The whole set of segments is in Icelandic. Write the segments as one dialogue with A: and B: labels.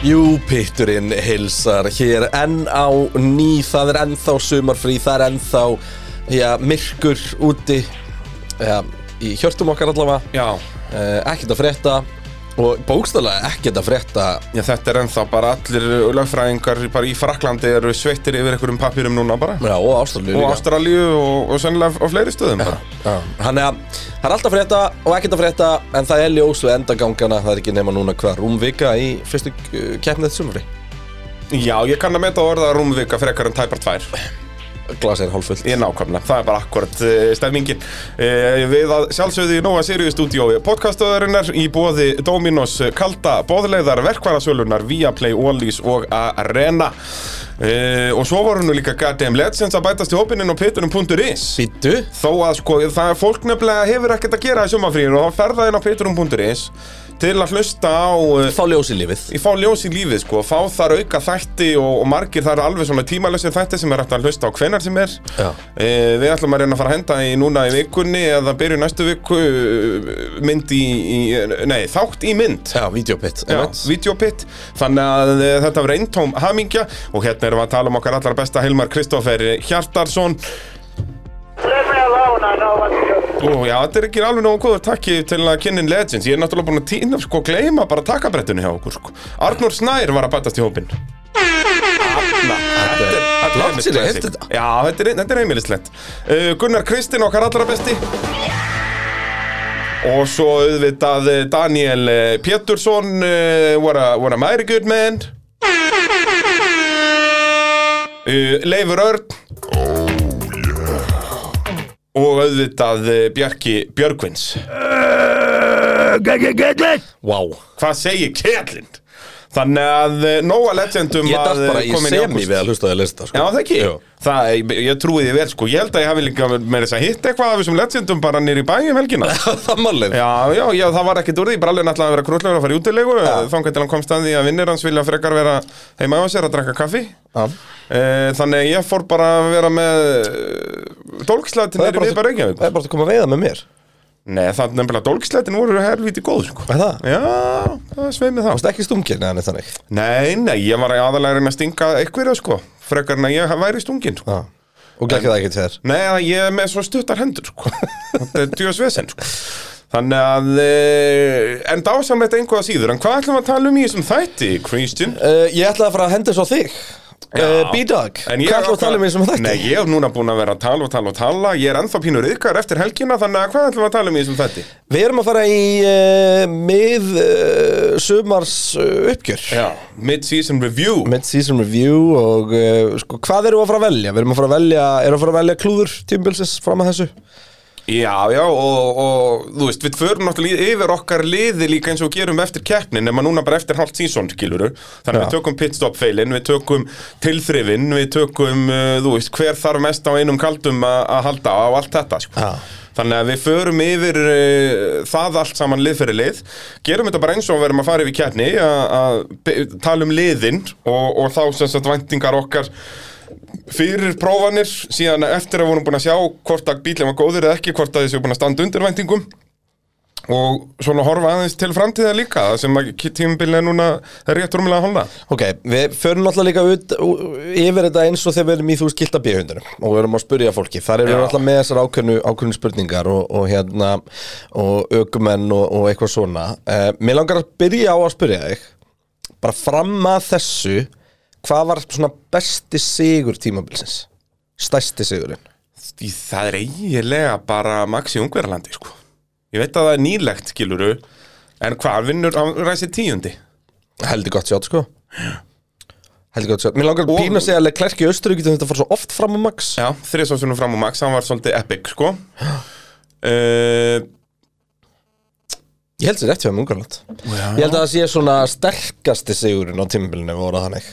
A: Jú, pitturinn hilsar hér enn á ný, það er ennþá sumarfrí, það er ennþá já, myrkur úti já, í hjörtum okkar allavega,
B: Já,
A: eh, ekkert að frétta og bókstæðlega ekkert að frétta
B: já, þetta er ennþá bara allir lögfræðingar bara í Fraklandi eru sveittir yfir einhverjum pappirum núna bara
A: já, og ástæðlega
B: og Ástralíu og, og sennilega á fleiri stöðum bara
A: Þannig að það er alltaf frétta og ekkert að frétta en það er ljós við endagangana, það er ekki nema núna hvað rúmvika í fyrstu eh, keppnið sumri.
B: Já, ég kann að meta orða rúmvika frekar en tæpar tvær
A: Glasið er hálffullt.
B: Ég nákvæmlega, það er bara akkurat uh, stemningin uh, Við að sjálfsögðu í Nóa Sirius stúdíói podcastöðarinnar í bóði Dominos Kalda, Bóðleiðar, Verkvarasölunar, Viaplay, Ólís og Arena uh, Og svo voru nú líka Goddamn Legends að bætast í hópinin og pitunum.is
A: Sýttu?
B: Þó að sko, það er fólk nefnilega hefur ekkert að gera í sumafríinu og þá ferða inn á pitunum.is til að hlusta á uh,
A: Fá ljós í lífið.
B: Ég fá ljós í lífið sko, fá þar auka þætti og, og margir þar alveg svona tímalösi þætti sem er hægt að hlusta á hvenar sem er
A: Já.
B: e, Við ætlum að reyna að fara að henda í núna í vikunni eða byrju næstu viku eh, mynd í, í, nei, þátt í mynd
A: Já, videopitt.
B: Já, Videopitt, þannig að eh, þetta var eintóm hamingja og hérna erum við að tala um okkar allar besta Hilmar Kristoffer Hjartarsson
C: Leave me alone, I know what to do.
B: og já, þetta er ekki alveg nógu góður takki til að kynnin Legends, ég er náttúrulega búin að týna sko, gleyma bara takkabrettinu hjá okkur sko. Arnur Snær var að bætast í hópinn
A: Þetta er-
B: Þetta er
A: Langt síðan ég
B: heimilislegt.
A: heyrti þetta.
B: Já, þetta er, þetta er heimilislegt uh, Gunnar Kristinn okkar allra besti Og svo auðvitað eh, Daniel eh, Pétursson uh, what, a, what a mighty good man uh, Leifur Örn Og auðvitað eh, Bjarki Björgvins
A: Vá.
B: Hvað segir Kjellin? Þannig að eh, nóg að legendum
A: Ég datt
B: að eh,
A: bara í
B: koma inn
A: semi
B: ágúst.
A: við að hlusta á því að lista, sko.
B: Já, það ekki.
A: Jú.
B: Það, ég, ég trúi því vel, sko. Ég held að ég hafi líka með þess að hitta eitthvað af þessum legendum bara nýri bæjum um helgina.
A: það er málið.
B: Já, já, já, það var ekkert úr því. Brallin ætlaði að vera krullegur að fara í útilegu. Ja. Þangar til hann komst að því að vinnir hans vilja frekar vera heima á sér að drakka kaffi.
A: Já.
B: E, þannig að ég fór bara að vera með eh, dólkslætin
A: Það er
B: nýri við bara
A: það er
B: Reykjavík.
A: bara að koma að veiða með mér.
B: Nei, það nefnilega dólkslætin voru helviti góð, sko.
A: Er það?
B: Já, það sveið mig það.
A: Það er ekki stungir, neðan þannig.
B: Nei, nei, ég var aðalega að reyna að stinga eitthvað, sko. Frekar en að ég væri stungin, sko.
A: Já. Og gekkið það ekki til þér.
B: Nei, að ég er með svo stuttar hendur sko. Þetta er djóðsvesen sko. Þannig að eh, En dásamlegt einhvað síður En hvað ætlum við að tala um í þessum þætti, Christian?
A: Uh, ég ætlaði að fara að henda svo þig. Uh, B-Dog. Hvað
B: En ég
A: ætlaði að
B: ákvað-
A: tala um eins og þetta?
B: Nei, ég hef núna búin að vera að tala og tala og tala Ég er ennþá pínur yðkar eftir helgina Þannig að hvað ætlum við að tala um í þessum þætti?
A: Við erum að fara í uh, mið uh, sumars uh, uppgjör.
B: Já, mid-season review
A: Mid-season review og uh, sko, hvað erum við að fara að velja? Við erum að fara að velja, erum að fara að velja klúður tímbilsins fram að þessu.
B: Já, já, og, og þú veist, við förum náttúrulega í- yfir okkar liði líka eins og við gerum eftir keppnin nema núna bara eftir hálft sísón, skiluru Þannig að við
A: Já.
B: tökum pitstop-feilin, við tökum tilþrifin, við tökum, uh, þú veist, hver þarf mest á einum kaldum a- að halda á allt þetta, sko
A: Já.
B: Þannig að við förum yfir uh, það allt saman lið fyrir lið Gerum þetta bara eins og við erum að fara yfir keppni að- að be- tala um liðin og, og þá sem sagt væntingar okkar fyrir prófanir síðan eftir að vorum búin að sjá hvort að bílinn var góður eða ekki hvort að þessi var búin að standa undir væntingum og svona horfa aðeins til framtíða líka það sem að tímabilið er núna það er rétt rúmlega að holna
A: Ok, við förum náttúrulega líka ut, ú- yfir þetta eins og þegar við erum í þú veist gilda B-hundunum og við erum að spurja fólki. Þar erum við
B: Já.
A: náttúrulega með þessar ákveðnu, ákveðnu spurningar og, og hérna og ökumenn og, og eitthvað svona. Uh, mér langar að byrja á að spurja þig, bara fram að þessu, hvað var svona besti sigur tímabilsins? Stæsti sigurinn?
B: Því það er eiginlega bara Maxi Ungverðarlandi sko ég veit að það er nýlegt skiluru en hvað vinnur á ræsi tíundi
A: Heldur gott sjátt sko Heldur gott sjátt Mér langar
B: Og-
A: pínu að segja að Leclerc í Östuríki þetta fara svo oft fram á Max
B: já, þriðsásunum fram á Max hann var svolítið epic sko uh,
A: Ég held sér rétt hjá um Ungarland Ég held að það sé svona sterkasti sigurinn á tímabilinu voru þannig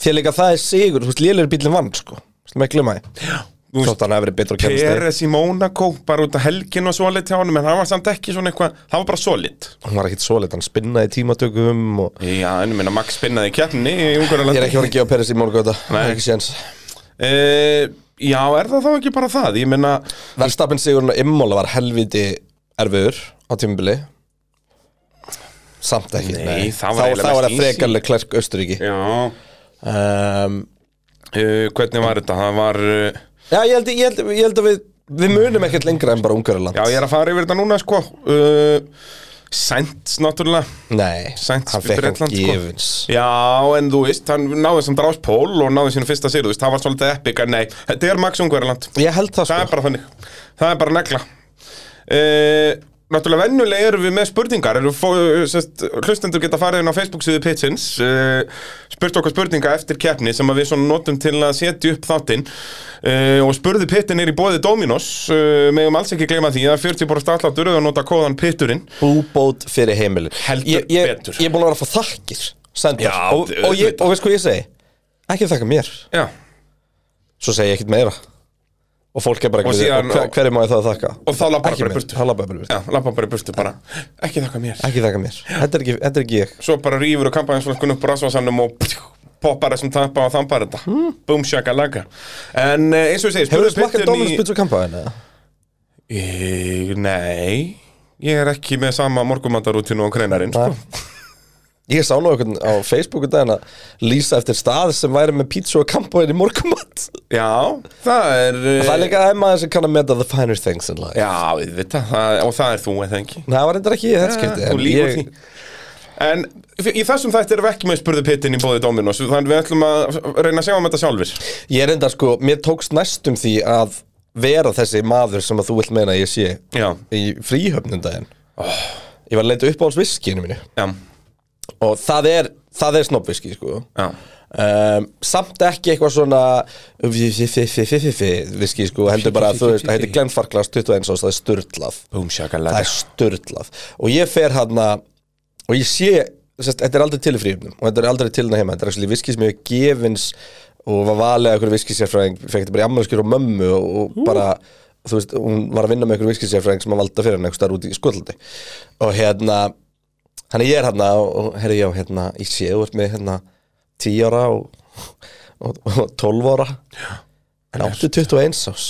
A: Því að líka það er sigur, þú veist, lélir bílinn vann sko Slum ekki glima því
B: þú veist,
A: Þótt hann hafi verið betur að kemast þeir
B: Peres í Mónaco bara út af helgin og solid hjá honum en hann var samt ekki svona eitthvað, hann var bara solid
A: Hann var ekkit svoleitt, hann spinnaði í tímatökum og...
B: Já, en ég meina Max spinnaði í keppni í
A: Ég
B: Ungarlandi
A: er ekki voru að gefa Peres í morgu þetta Það er
B: Nei.
A: ekki séns
B: Eh, Já, er það þá ekki bara það? Ég meina,
A: Verstapin sigurinn á Immóla var helviti erfiður á tímabili samt ekki
B: Nei,
A: nei.
B: það var
A: þá,
B: eiginlega
A: þá er
B: mest
A: það
B: easy.
A: frekarlega klerk Östuríki
B: Já,
A: um,
B: uh, hvernig var þetta? Það var, uh,
A: Já, ég held, ég held, ég held að við Við munum ekkert lengra en bara Ungariland
B: já ég er að fara yfir þetta núna sko uh, Sainz náttúrulega
A: Nei,
B: Sainz
A: hann fekk hann
B: Bretland, sko.
A: gefins
B: Já, en þú veist, hann náði samt rás pól og náði sínu fyrsta sigur, þú veist, það var svolítið epic en nei, þetta er Max Ungverjaland
A: Ég held það
B: Það er
A: sko
B: bara þannig, það er bara negla uh, Náttúrulega vennulega erum við með spurningar erum fó, sest, Hlustendur geta farið inn á Facebook síðu Pitsins uh, Spurt okkar spurninga eftir keppni sem að við svona notum til að setja upp þáttinn uh, Og spurði Pittin er í bóði Dominos uh, Megum alls ekki gleyma því að 40 bóra startláttur og nota kóðan Pitturinn
A: Búbót fyrir heimilin
B: Heldur
A: ég, ég,
B: betur.
A: Ég er búin að vera að fá þakkir sendar
B: Já,
A: Og, og, ég,
B: auðvitað.
A: og veist hvað ég segi Ekki þakka mér
B: Já
A: Svo segi ég ekkert meira Og fólk er bara
B: Og
A: ekki
B: síðan-
A: hver, Hverju má ég það að þakka?
B: Og þá labbar
A: Ekki
B: bara
A: mér,
B: í burtu.
A: þá labbaði bara í burtu
B: Já, lappa bara í burtu bara Ekki þakka mér
A: Ekki þakka mér Þetta er ekki, þetta er ekki ég
B: Svo bara rýfur og kampanjansfólkun upp úr rasvasanum og pjú, poppar þessum tappa og þampar þetta mm. Boom shaka laga En eh, eins og ég segi,
A: Hefur þú
B: spurðu
A: Hmm. smakkað
B: Pittin
A: Dominus Pizza Kampaðin?
B: Í- Nei, ég er ekki með sama morgumandarútinu og kreinarinn sko.
A: Ég sá nú einhvern á Facebooku daginn að lýsa eftir stað sem væri með pizza og kampaðin í morgumat
B: Já, það er
A: Það er líka að maður sem kann að meta the finer things in life
B: Eh. Já, við veit það, og það er þú eða ekki Eh,
A: Nei, það var reyndar ekki í þetta skipti
B: Þú
A: en
B: líkur
A: ég-
B: því En í þessum þætti erum við ekki með spurðu pittin í bóði Dominos Þannig við ætlum að reyna að sjá um þetta sjálfur
A: Ég er reyndar sko, mér tókst næstum því að vera þessi maður sem að þú vilt meina að ég sé
B: Já,
A: í fríhöfnum daginn Ég var að leita upp á alls viskinu mínu
B: já,
A: og það er, það er snobbviski sko
B: já
A: Um, samt ekki eitthvað svona viski sko heldur bara að þú veist, það heitir Glenfarklas 21 ás, það er sturlað
B: Boom shaka
A: það er sturlað og ég fer hann og ég sé, sest, þetta er aldrei til í frífnum og þetta er aldrei til hérna heima, þetta er ekki viski sem ég hef gefins og var valið að einhverju viskisérfræðing fekk þetta bara í ammalskjur og mömmu og, og bara, þú veist, hún var að vinna með einhverju viskisérfræðing sem að valda fyrir hann einhvers staðar út í skotlandi og hérna hann ég er hann og, og herri já, hérna ég sé, þú ert með hérna 10 ára og, og, og 12 ára en áttu 21 ás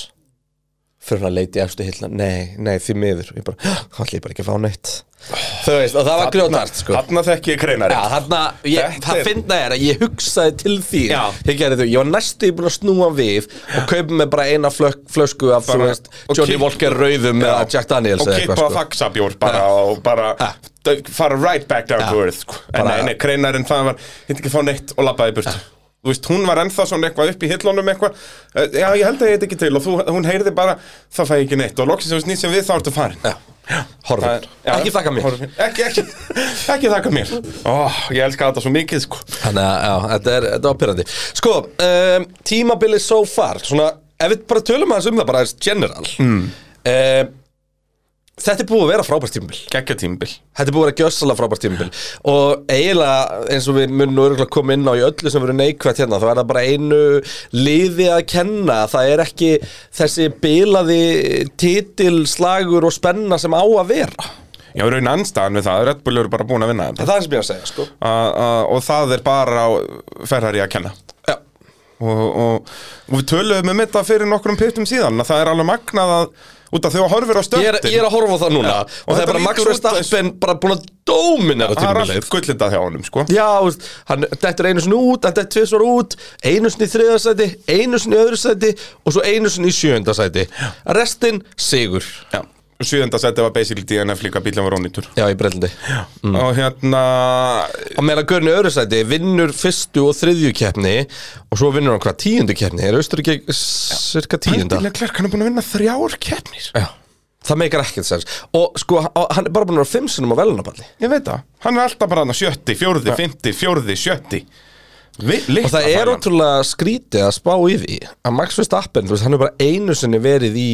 A: fyrir hann að leita í efstu hillna nei, nei, því miður ég bara, hann ætla ég bara ekki að fá neitt þú veist, og það var grjótart sko
B: Þarna þekki ég
A: Já,
B: kreinarinn
A: þarna, ég,
B: Þetta
A: það
B: er-
A: finna er að ég hugsaði til því
B: Já.
A: Ég gerði þau, ég var næstu búin að snúa við og kaupa mig bara eina flösk, flösku af,
B: Bara-
A: þú veist,
B: og
A: Johnny
B: kipp-
A: Walker rauðum eða Jack Daniels
B: og
A: eða sko.
B: kippa að faxa bjór bara og bara
A: Ja.
B: d- fara right back down
A: Ja.
B: to earth sko. en
A: Bara-
B: nei, nei, kreinarinn það var hitt ekki að fá neitt og labbaði í burt þú veist, hún var ennþá svona eitthvað upp í hillunum eitthvað Eh, já, ég held að ég heit ekki til og þú, hún heyrði bara, þá fæ ég ekki neitt og loksins hefur snýst sem við þá ertu farin
A: Já, horfum,
B: Já,
A: ekki þakka mér
B: horfin. ekki, ekki, ekki þakka mér ó, ég elska þetta svo mikið sko
A: Þannig að, já, þetta er, þetta var pyrrandi Sko, um, tímabilið so far Svona, ef við bara tölum aðeins um það bara aðeins general mm. Þetta er búið að vera frábært tímabil
B: geggja tímbil
A: Þetta er búið að vera gjössalega frábært tímabil Og eiginlega, eins og við munum örugglega koma inn á í öllu sem verður neikvætt hérna Þá er það bara einu liði að kenna Það er ekki þessi bilaði titil, slagur og spenna sem á að vera
B: ég var raun anstæðan við það, Red Bull eru bara búin að vinna
A: Það
B: þetta
A: er það sem ég er að segja, sko
B: A, a, og það er bara á Ferrari að kenna
A: Já,
B: og, og, og við töluðum um þetta fyrir nokkrum pittum síðan að það er alveg magnað að út af því að horfir á
A: ég
B: stöndin
A: er, ég er að horfa á það núna
B: Já,
A: Og,
B: og
A: það er
B: þetta
A: bara Max
B: lítur út eins-
A: Verstappen bara búin að dóminera
B: það er
A: tímabilið
B: allt gullitað hjá honum sko
A: Já, þú veist, hann dettur einu sinni út, hann dettur tvisvar út, einu sinni í þriða sæti, einu sinni í öðru sæti og svo einu sinni í sjönda sæti. Restinn sigur.
B: Já. og sjöðenda seti var basically DNF líka bílum var ónýtur
A: Já, í brellandi. Mm.
B: og hérna
A: Og meðan Görni öðru sæti vinnur fyrstu og þriðju keppni og svo vinnur hann hvað tíundu keppni, er Austuríki cirka tíunda?
B: Bílum Klerk hann er búin að vinna þrjár keppnir
A: Já. Það meikar ekkert sens. Og sko, hann- hann er bara búin að vera fimm sinnum á velunarballi.
B: ég veit það, hann er alltaf bara hann sjötti, fjórði, fymti, fjórði, sjötti Vi,
A: Og það er ótrúlega skrítið að spá í því að Max Verstappen, þú veist, hann er bara einu sinni verið í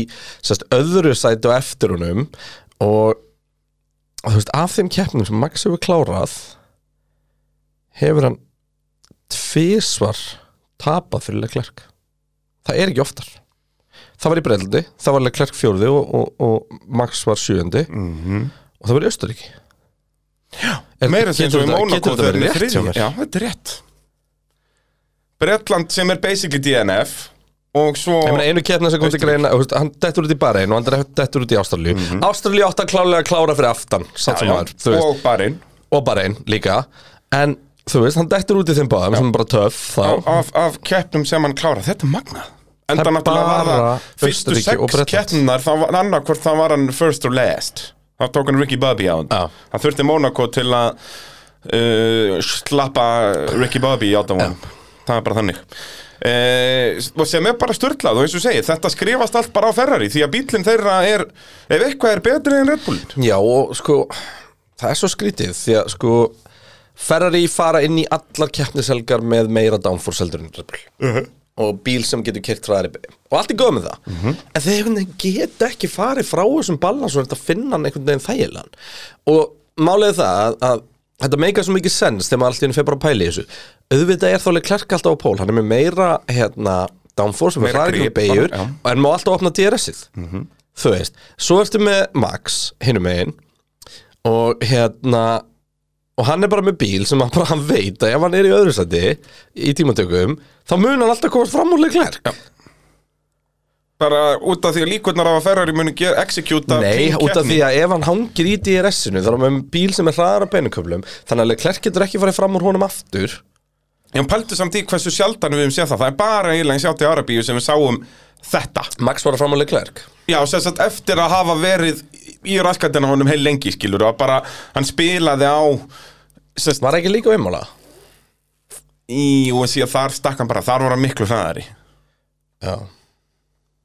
A: sest, öðru sæti á eftir honum og og þú veist, af þeim keppnum sem Max hefur klárað hefur hann tvisvar tapað fyrir Leclerc það er ekki oftar það var í Breldi, það var Leclerc fjórði og, og, og Max var sjöndi og það var í Östuríki Já,
B: Mhm. meira sem svo í Mónakó
A: getur þetta
B: þegar
A: verið
B: hann
A: rétt
B: er
A: hjá
B: þriðji.
A: mér?
B: Já, þetta er rétt Bretland sem er basically DNF og svo
A: Ég meina einu keppna sem kom til greina þú veist, Hann dettur út í Bahrein og hann dettur út í Ástralíu Ástralíu átt að klálega að klára fyrir aftan Samt
B: Mhm. Já,
A: sem
B: já.
A: maður, þú veist
B: og barinn
A: og bara einn líka En þú veist, hann dettur út í þeim báðum sem er bara töff þá
B: af, af, af keppnum sem hann klára þetta er magnað enda
A: Það er
B: náttúrulega var
A: bara
B: það fyrstu
A: Austurríki og
B: sex
A: Bretland.
B: keppnar það var annarkvort það var hann first or last það tók hann Ricky Bobby á hann
A: Já.
B: hann þurfti Monaco til að uh, slappa Ricky Bobby á það honum það er bara þannig Uh, og sem er bara störtlað og eins og segir þetta skrifast allt bara á Ferrari því að bílinn þeirra er ef eitthvað er betri en Red Bullin
A: Já og sko það er svo skrítið því að sko Ferrari fara inn í allar keppniselgar með meira downforce heldur en Red Bull
B: Uh-huh.
A: og bíl sem getur kert hraðari beygju. og allt er góð með það
B: Mhm.
A: en þeir einhvern veginn geta ekki farið frá þessum ballans og þetta finna hann einhvern veginn þægilegan og málið er það að, að þetta meika svo mikið sens þegar maður allt í henni fyrir bara að pæla í þessu auðvitað er þálega klerk alltaf á pól hann er með meira hérna downforce sem er
B: Meira
A: hraðari
B: grip,
A: beigur
B: bara, já.
A: en má alltaf opna DRS-ið þú veist, svo ertu með Max hinum megin og hérna og hann er bara með bíl sem hann, bara, hann veit að ef hann er í öðru sæti í tímatökum, þá mun hann alltaf komast fram úr leiklerk
B: bara út af því að líkurnar á að Ferrari muni ge- executa
A: Nei,
B: fín
A: út af
B: keppni.
A: því að ef hann hangir í DRS-inu þá er hann með bíl sem er hraðar á beinuköflum þannig að leiklerk getur ekki farið fram úr honum aftur
B: Ég pæltu samt í hversu sjaldan við höfum séð það Það er bara eiginlega í sjátti Arabíu sem við sáum þetta
A: Max var að fram úr leiklerk
B: Já, sem sagt eftir að hafa verið í raskatina honum heil lengi skilur og bara hann spilaði á sem sagt,
A: Var ekki líka vimmála?
B: í og síðan þar stakk hann bara þar var hann miklu hraðari
A: Já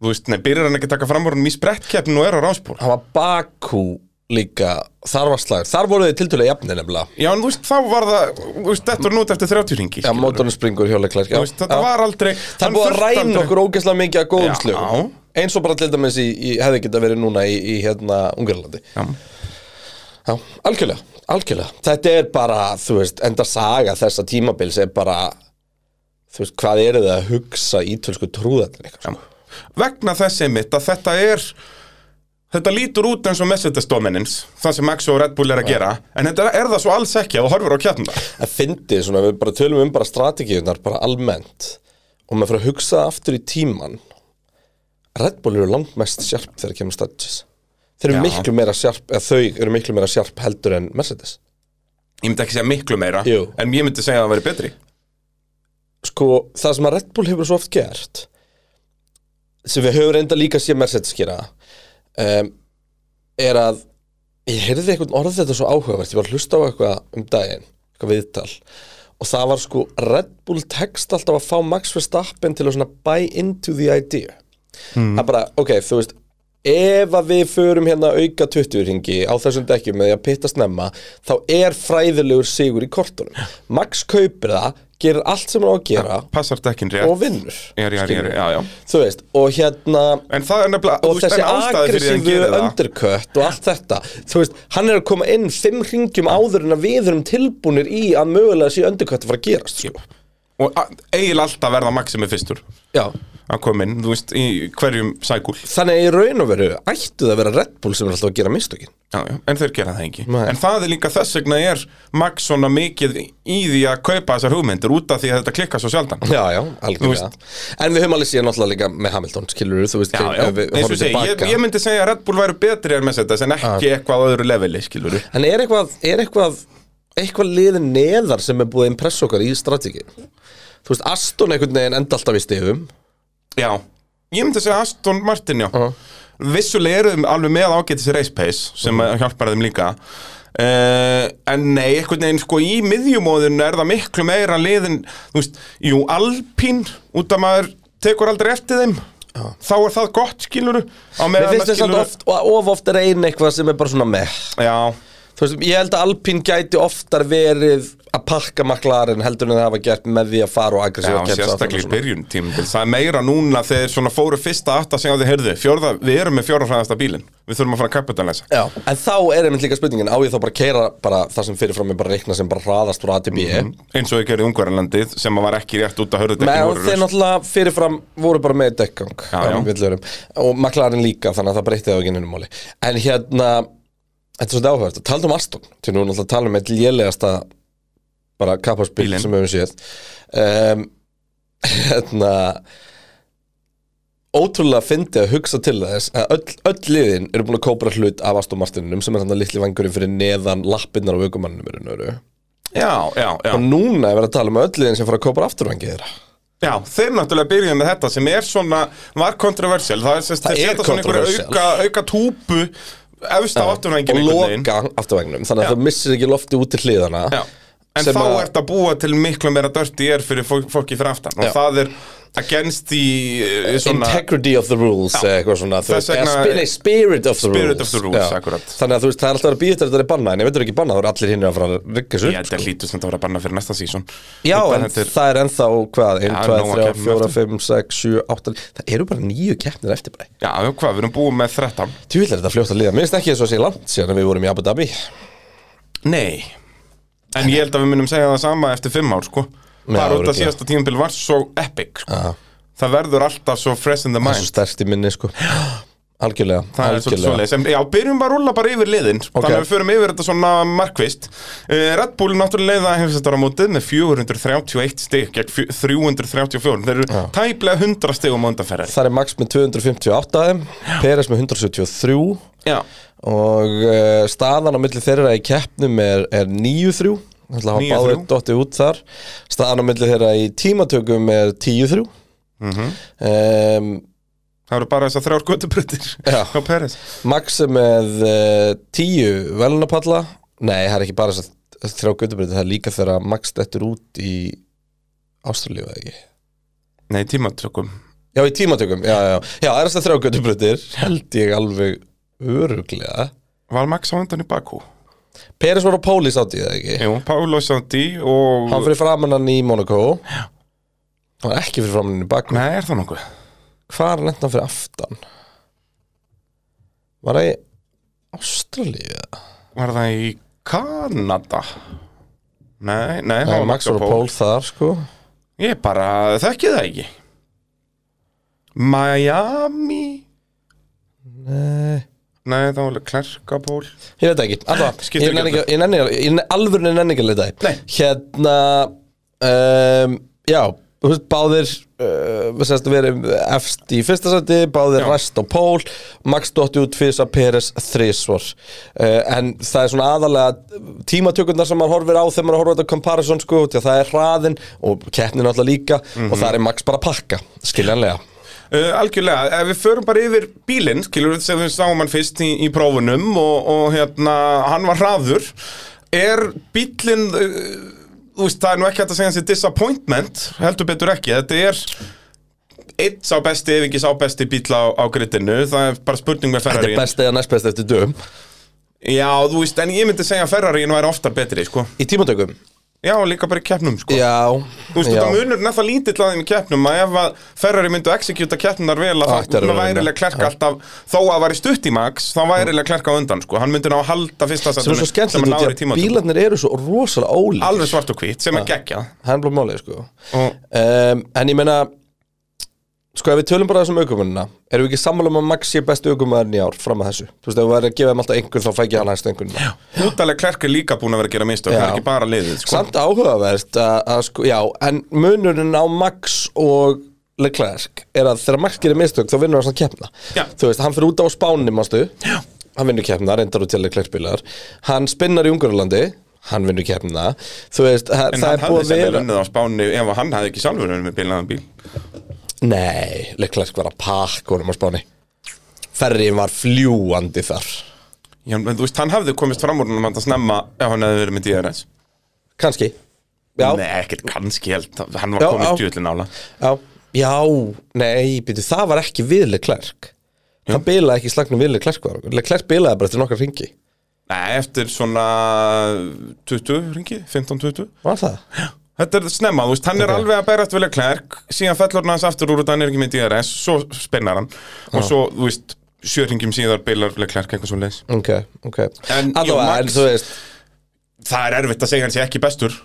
B: Þú veist, nei, byrjar hann ekki að taka fram úr honum í sprettkeppninu og er á ráspól
A: Hann var Bakú líka, þar var slagur Þar voru þið tiltölu jafnir nefnilega
B: Já, en þú veist, þá var það þú veist, þetta var nút eftir 30 ringi
A: Já, mótorinn springur hjá leiklerk
B: Þú veist, þetta var aldrei
A: Það er
B: hann
A: búið að
B: þurfti
A: ræna
B: aldrei-
A: okkur ógeðslega mikið að góðum
B: Já.
A: slögum eins og bara til dæmis í, í hefði geta verið núna í, í hérna Ungarlandi
B: Já.
A: Já, algjörlega, algjörlega Þetta er bara, þú veist, enda saga þessa tímabils er bara þú veist, hvað eru þið að hugsa ítölsku trúðarnir eitthvað sko?
B: vegna þess einmitt að þetta er þetta lítur út eins og Mercedes dominance það sem Max og Red Bull er að gera en þetta er, er það svo alls ekki að þú horfur á kjarnar
A: að fyndið svona, við bara tölum um bara strategíunar bara almennt og maður fyrir að hugsa aftur í tíman Red Bull eru langt mest sjarp þegar kemur strategis þeir eru
B: Já.
A: miklu meira sjarp, eða þau eru miklu meira sjarp heldur en Mercedes
B: ég myndi ekki segja miklu meira
A: Jú.
B: en ég myndi segja að það væri betri
A: sko, það sem að Red Bull hefur svo oft gert sem við höfum reynda líka sér Mercedes gera um, er að ég heyrði einhvern orð þetta svo áhugavert ég var að hlusta á eitthvað um daginn eitthvað viðtal og það var sko Red Bull tekst alltaf að fá Max Verstappen til að svona buy into the idea það er bara, ok, þú veist ef að við förum hérna auka 20 ringi á þessum dekkjum með því að pitta snemma þá er fræðilegur sigur í kortunum Max kaupir það, gerir allt sem hann á að gera
B: passar dekkin rétt
A: og vinnur
B: er, er, er,
A: skilurðu.
B: já, já.
A: þú veist, og hérna
B: en það er nefnilega
A: og
B: þú veist,
A: þessi
B: en ástæða fyrir því að hann
A: aggressífu
B: gerir það
A: undercut og allt þetta þú veist, hann er að koma inn fimm ringjum áður en að við erum tilbúnir í að mögulega sé undercut að fara að gerast sko.
B: og a- eiginlega alltaf verða Max sem er fyrstur
A: já,
B: að koma inn, þú veist, í hverjum sækúl
A: þannig að í raun og veru ættu það að vera Red Bull sem er alltaf að gera mistökin
B: já, já. en þeir gera það ekki
A: Nei.
B: en það er líka þess vegna er Max svona mikið í því að kaupa þessar hugmyndir út af því að þetta klikkar svo sjaldan
A: Já, já, algjörlega En við höfum alveg síðan náttúrulega líka með Hamilton, skilur þú veist,
B: Já, já,
A: ef við
B: eins og
A: horfum Ah.
B: segi, ég,
A: tilbaka
B: ég myndi segja að Red Bull væru betri en Mercedes en ekki eitthvað á öðru leveli, skilur við
A: En er eitthvað, er eitthvað eitthvað liðin neðar sem er búið að impressa okkar í strategi Þú veist, Aston einhvern veginn enda alltaf í stigum
B: Já, ég myndi segja Aston Martin, já
A: Já.
B: Vissulega eru þeim alveg með ágætis race pace sem uh hjálpar þeim líka Uh, en nei, einhvern veginn sko í miðjumóðinu er það miklu meira liðin, þú veist, jú, alpín út að maður tekur aldrei eftir þeim þá er það gott, skilur á
A: Mér
B: meðan
A: finnst þess að oft, og of oft er ein eitthvað sem er bara svona með
B: Já,
A: Þú veist, ég held að Alpín gæti oftar verið að pakka maklarinn heldur en það hafa gert með því að fara og aggressífa
B: Já, sérstaklega í byrjun tímabil Það er meira núna þegar svona fóru fyrsta aft að segja á því, heyrðu, fjórða, við erum með fjórða hraðasta bílinn Við þurfum að fara að kapitalæsa
A: Já, en þá er einmitt líka spurningin, á ég þá bara að keira bara það sem fyrirfram er bara reikna sem bara hraðast úr ATB
B: Eins og ég gerði Ungverjalandið sem að var ekki rétt út að hörðu
A: Nei,
B: dekkin
A: og þeir náttúrulega fyrirfram voru bara með dekgang
B: Já, já.
A: um villurum. og maklarinn líka þannig að það breytti það ekki nefnum máli en hérna, þetta er svolítið áhverð taldu um Aston, til nú erum náttúrulega að tala um eitt lélegasta bara kapparspil
B: Bílinn.
A: sem við höfum séð um, hérna ótrúlega fyndi að hugsa til þess að öll, öll liðin eru búin að kópra hlut af Aston Martininum sem er þannig litli vangurinn fyrir neðan lappinnar á aukumannum eru nöru
B: Já, já, já.
A: og núna er verið að tala um öll liðin sem fara að kópra afturvangið þeirra
B: Já, þeir náttúrulega byrjuðu með þetta sem er svona, var kontroversial Það er sérst,
A: Það
B: þeir
A: er
B: setja svona einhverja
A: controversial.
B: auka, auka túpu Efst á afturvængin
A: og loka afturvanginum þannig
B: Já.
A: að það missir ekki lofti út til hliðana
B: Já, en
A: sem
B: þá
A: að-
B: ert að búa til miklu meira dörti er fyrir fólk, fólki fyrir aftan Og
A: Já.
B: það er against the eh, svona
A: Integrity of the rules eða eitthvað svona þú
B: Þess
A: veist, eða
B: vegna-
A: spi- nei, Spirit of the rules
B: Spirit of the rules,
A: Já.
B: akkurat.
A: Þannig að þú veist, það er alltaf að býja þetta að þetta er bannað En ef þetta er ekki bannað, þá eru allir hinn að fara að rigga
B: Ég
A: svo
B: held að hlýtu sem þetta var að banna fyrir næsta sísón
A: sko. Já, en
B: þetta er,
A: það er ennþá hvað 1,
B: Já,
A: 2,
B: nóg
A: 3,
B: að keppnum
A: 4,
B: eftir.
A: 5, 6, 7, 8 Það eru bara nýju keppnir eftir bara
B: Já, já, hvað, við erum búið með 13
A: Tjúvill er þetta fljótt að liða Mér finnst ekki þess að sé langt síðan en við vorum í Abu Dhabi
B: Nei En ég held að við munum segja það sama eftir fimm ár, sko
A: Já,
B: Bara út
A: örugglega.
B: að síðasta tímabil var svo epic, sko
A: Já.
B: Það verður alltaf svo fresh in the
A: Það er
B: mind
A: svo stærst í minni, sko Algjörlega,
B: Það er svolítið
A: algjörlega
B: svoleiðis, en já, byrjum bara að rúlla bara yfir liðin Þannig að við förum yfir þetta svona markvist uh, Red Bull náttúrulega leiða heimsættaramótið með 431 stig gegn fjö- 334 Þeir eru tæplega 100 stigum á undanferðari
A: Það er Max með 258 af þeim, Peres með 173
B: Já,
A: og uh, staðan á milli þeirra í keppnum er, er 9-3 þannig að hafa
B: 9-3.
A: báðið dottið út þar staðan á milli þeirra í tímatökum er 10-3 um,
B: Mhm. það eru bara þessar þrjár göttubruttir
A: Já.
B: á Peres
A: Max er með uh, 10 velunapalla nei, það er ekki bara þess að þrjá guttubrið það er líka þegar Max dettur út í Ástralíu eða ekki
B: Nei, tímatökum
A: já, í tímatökum, já, já, já, það er þess að þrjá guttubriðir held ég alveg öruglega
B: Var Max á undan í Bakú?
A: Peres var á Pólís átíð eða ekki
B: Jú, Pálo Sandi og...
A: Hann fyrir framan hann í Monaco Já Hann var ekki fyrir framan hann í Bakú
B: Nei, er það nokkuð?
A: Hvar lent hann fyrir aftan? Var það í Ástralíu? eða?
B: Var það í Kanada? Nei, nei, það
A: Nei, Max var á pól þar sko
B: Ég bara þekki það ekki Miami
A: Nei
B: Nei, það var alveg klerkapól
A: Ég veit það ekki, alltaf,
B: Skiptir
A: ég nenni
B: ekki
A: ekki, ég nenni, ég nenni, alvörinu nenni ekki að leita í.
B: Nei.
A: Hérna, um, já, þú veist, báðir, uh, við sérst að vera efst í fyrsta seti, báðir
B: Já.
A: ræst á pól, Max Dotti út fyrst að Peres þrísvor. Uh, en það er svona aðalega tímatökundar sem maður horfir á þegar maður horfir á þetta comparison, sko, því að það er hraðin og keppnin alltaf líka og
B: Mhm.
A: það er Max bara að pakka, skiljanlega.
B: uh, Algjörlega, ef við förum bara yfir bílinn Skilur við sem við sáum hann fyrst í, í prófunum og, og hérna, hann var hraður Er bílinn, uh, þú veist, það er nú ekki hægt að segja hans Disappointment, heldur betur ekki Þetta er Eitt sá besti, ef ekki sá besti bíl á, á grittinu Það er bara spurning með
A: Þetta
B: Ferrari
A: er best eða næst best eftir döm.
B: Já, þú veist, en ég myndi segja að Ferrari væri oftar betri, sko
A: Í tímatökum?
B: Já, líka bara í keppnum, sko
A: Já.
B: Þú veist, þetta munur nefnilega lítill að þeim í keppnum að ef að Ferrari myndu executa keppnunar vel að
A: Ætti að
B: það
A: vera vinna.
B: værilega klerk alltaf þó að það væri stutt í Max, þá værilega klerk á undan sko. hann myndi ná að halda fyrsta
A: Mm. sem er svo skemmtilegt út
B: náður í
A: í að
B: tímatökum.
A: bílarnir Ah. eru svo rosalega ólík
B: alveg svart og hvít, sem er geggjað
A: það er blá málið sko
B: og
A: um, en ég meina sko ef við tölum bara þessum aukumennina erum við ekki sammála um að Max sé bestu aukumennarinn í ár fram að þessu, þú veist ef við erum að gefa þeim alltaf einhvern þá fæk ég hann hægstu einhvern
B: útalega klerk er líka búin að vera að gera mistök, það
A: Já.
B: er ekki bara liðið sko.
A: samt áhugavert að, að sko, já, en munurinn á Max og Leclerc er að þegar Max gerir mistök þá vinnur hann samt keppna
B: Já.
A: þú veist, hann fyrir út á spáni mástu hann vinnur keppna, reyndar út til Leclerc bílar hann spinnar í Ungurlandi hann vinnur keppna þú veist, það
B: en
A: það
B: hann
A: er búið að
B: hafði sem er
A: vera
B: unnið á spáni ef hann hafði ekki sjálfur unnið með bílnaðan bíl
A: Nei, Leclerc var að pakka honum á spáni Ferrin var fljúandi þar
B: Já, en þú veist, hann hafði komist fram úr hann að snemma ef hann hefði verið með DRS
A: Kanski Já,
B: Nei, ekkert kannski held, hann var
A: Já,
B: komist
A: já.
B: djúðlega nála
A: já, já Nei, býtu, það var ekki við Leclerc Það bilaði ekki í slagnum við Leclerc var Leclerc bilaði bara eftir nokkar ringi
B: Nei, eftir svona 20 ringi, 15-20
A: Var það?
B: Þetta er snemma, þú veist, hann er
A: Ok.
B: alveg að berast vilja klærk síðan fellur hann aðeins aftur úr út, hann er ekki með DRS svo spennar hann og svo, þú veist, sjöringum síðar bilar vilja klærk eitthvað svo leis
A: Ok, ok
B: En, jú,
A: Allavega,
B: Max-
A: en þú veist
B: Það er erfitt að segja hann sé ekki bestur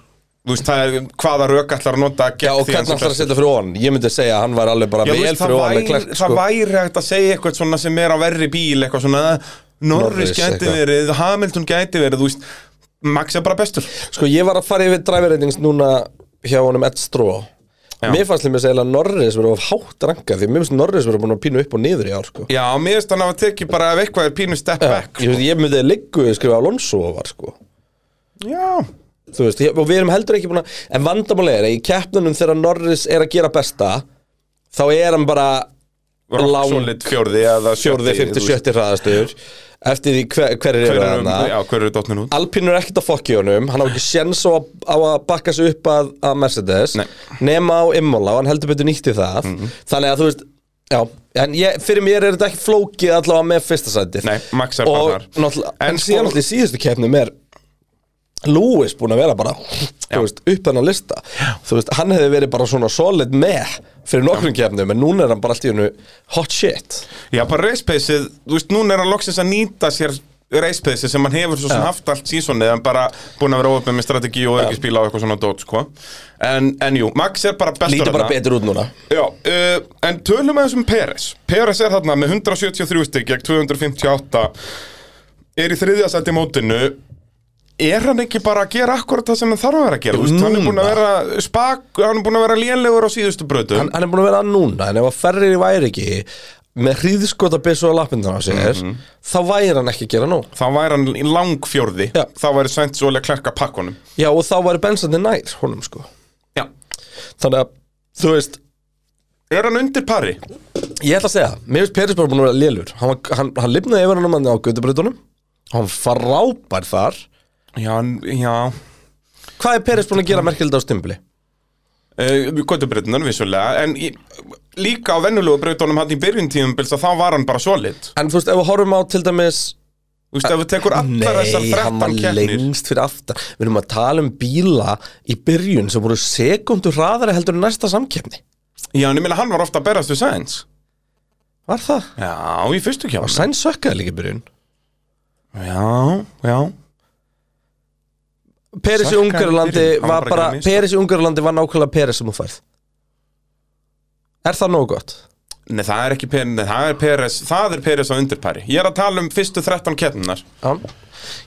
B: Þú veist, það er hvaða rauk allar að nota gegn
A: Já, og hvernig
B: því hann sé
A: ætlar að
B: bestur.
A: setja fyrir ofan? Ég myndi segja að hann var alveg bara
B: Já, þú
A: vel
B: veist, það
A: fyrir ofan
B: væri,
A: Leclerc
B: það
A: sko.
B: væri hægt að segja eitthvað svona sem er á verri bíl eitthvað svona, Norris
A: Norris
B: gæti
A: eitthvað.
B: verið Hamilton gæti verið, þú veist Max er bara bestur
A: Sko ég var að fara yfir driver ratings núna hjá honum Ed Stró
B: Já.
A: Mér fannst líka að Norris verið of hátt ranka Því mér finnst Norris verið búin að pínu upp og niður í ár sko.
B: Já, mér finnst hann hafa tekið bara ef eitthvað er pínu step back sko.
A: Ég, veist, ég myndi að liggu skrifa Alonso var sko
B: Já,
A: Þú veist, ég- og við erum heldur ekki búin að En vandamálega er að í keppnunum þegar Norris er að gera besta Þá er hann bara
B: rock
A: Lang-
B: solid fjórði eða
A: fjórði,
B: sjötti,
A: fymti,
B: þú veist.
A: sjötti hraðastugur Eftir því hver, hver er
B: Hver
A: yfir
B: eru,
A: hana
B: já, hver eru dotnir út?
A: Alpín er ekkert að fokki honum Hann á ekki séns á, að- á að bakka sig upp að, að Mercedes
B: Nei. Mhm.
A: Nema á Immola og hann heldur betur nýtti það Þannig að þú veist Já, en ég, fyrir mér er þetta ekki flókið allavega með fyrsta sætið
B: Nei, Max er
A: og
B: bara þar.
A: náttúrulega,
B: En
A: En, síðan
B: sko-
A: náttúrulega í síðustu keppnum er Lewis búin að vera bara þú veist, upp hennar lista Þú veist, hann hefði verið bara svona solid með Fyrir nokkrum keppnum, en núna er hann bara allt í hennu hot shit
B: Já, bara racepaceið, þú veist, núna er hann loksins að nýta sér racepaceið sem hann hefur svo sem haft allt sísonið en bara búin að vera óöfnum með strategi og örgispíla og eitthvað svona dót, sko en, en jú, Max er bara bestur
A: Lítur bara
B: þarna.
A: betur út núna
B: Já, uh, en tölum aðeins um Peres Peres er þarna með 173 stygg gegn 258 er í þriðja sæti í mótinu er hann ekki bara að gera akkurat það sem hann þarf að vera að gera, þú veist, hann er búin að vera spak, hann er búin að vera lélegur á síðustu brötu
A: hann, hann er búin að vera að núna en ef að Ferrari væri ekki með hríðskota byssu á lappindan á sér þá væri hann ekki að gera nú
B: þá væri hann í langfjórði
A: Já.
B: þá væri Sainz og Leclerc að pakka honum
A: já og þá væri bensandi nær honum sko
B: Já.
A: þannig að þú veist
B: Er hann undir pari?
A: ég ætla að segja mér finnst Peris bara búin að vera lélur hann, var- hann, hann lifnaði yfir hann um hann á Götubröðunum hann frábær þar
B: Já, hann- já
A: hvað er Peris búin að gera merkilegt á stimbli
B: uh, Götubreytunar vissulega En í, líka á vennulegu breytunum hann í byrjun tíðumbils að þá var hann bara solid
A: en þú veist ef við horfum á til dæmis
B: Þú veist, ef við tekur allar þessar
A: Nei, hann var
B: 13 keppnir
A: lengst fyrir aftan Við erum að tala um bíla í byrjun sem voru sekundu hraðari heldur en næsta samkeppni
B: Já, en ég meina hann var ofta að berast við Sainz
A: Var það?
B: Já, í fyrstu
A: Og
B: kjána
A: Sainz sökkaði líka í byrjun
B: Já, já
A: Peris í
B: Sökkaði í
A: Ungarlandi
B: byrjun, hann var
A: var
B: bara
A: bara sko.
B: að gera mistök.
A: Peris í Ungarlandi var nákvæmlega Peris sem þú færð Er það nóg gott?
B: Nei, það er ekki Peres, nei, það er Peres, það er Peres á undirpari. Ég er að tala um fyrstu 13 keppnunar.
A: Já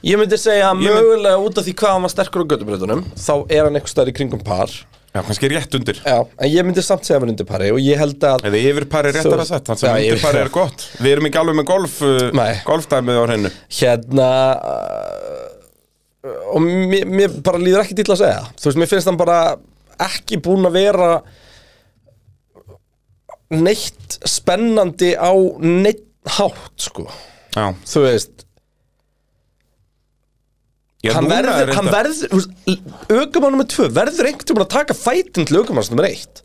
A: Ég myndi segja að
B: Ég mynd-
A: mögulega út af því hvað hann var sterkur á göttubröðunum þá er hann eitthvað stær í kringum par
B: Já, kannski rétt undir.
A: Já, en ég myndi samt segja að hann undir pari og ég held að
B: Eða yfir pari
A: Þú-
B: réttar að sett, þannig
A: Já,
B: að
A: yfir-
B: undir pari er gott. Við erum ekki alveg með golf, uh,
A: Nei.
B: golfdæmið á hreinu.
A: hérna uh, og mér, mér bara líður ekki til að segja það. þú veist, mér finnst hann bara ekki búin að vera neitt spennandi á neitt hátt sko,
B: Já,
A: þú veist
B: Ég
A: hann
B: núna er
A: verður, hann
B: reyndar-
A: verður aukumann nummer 2 verður einhvern tímann að taka fætin til aukumanns nummer 1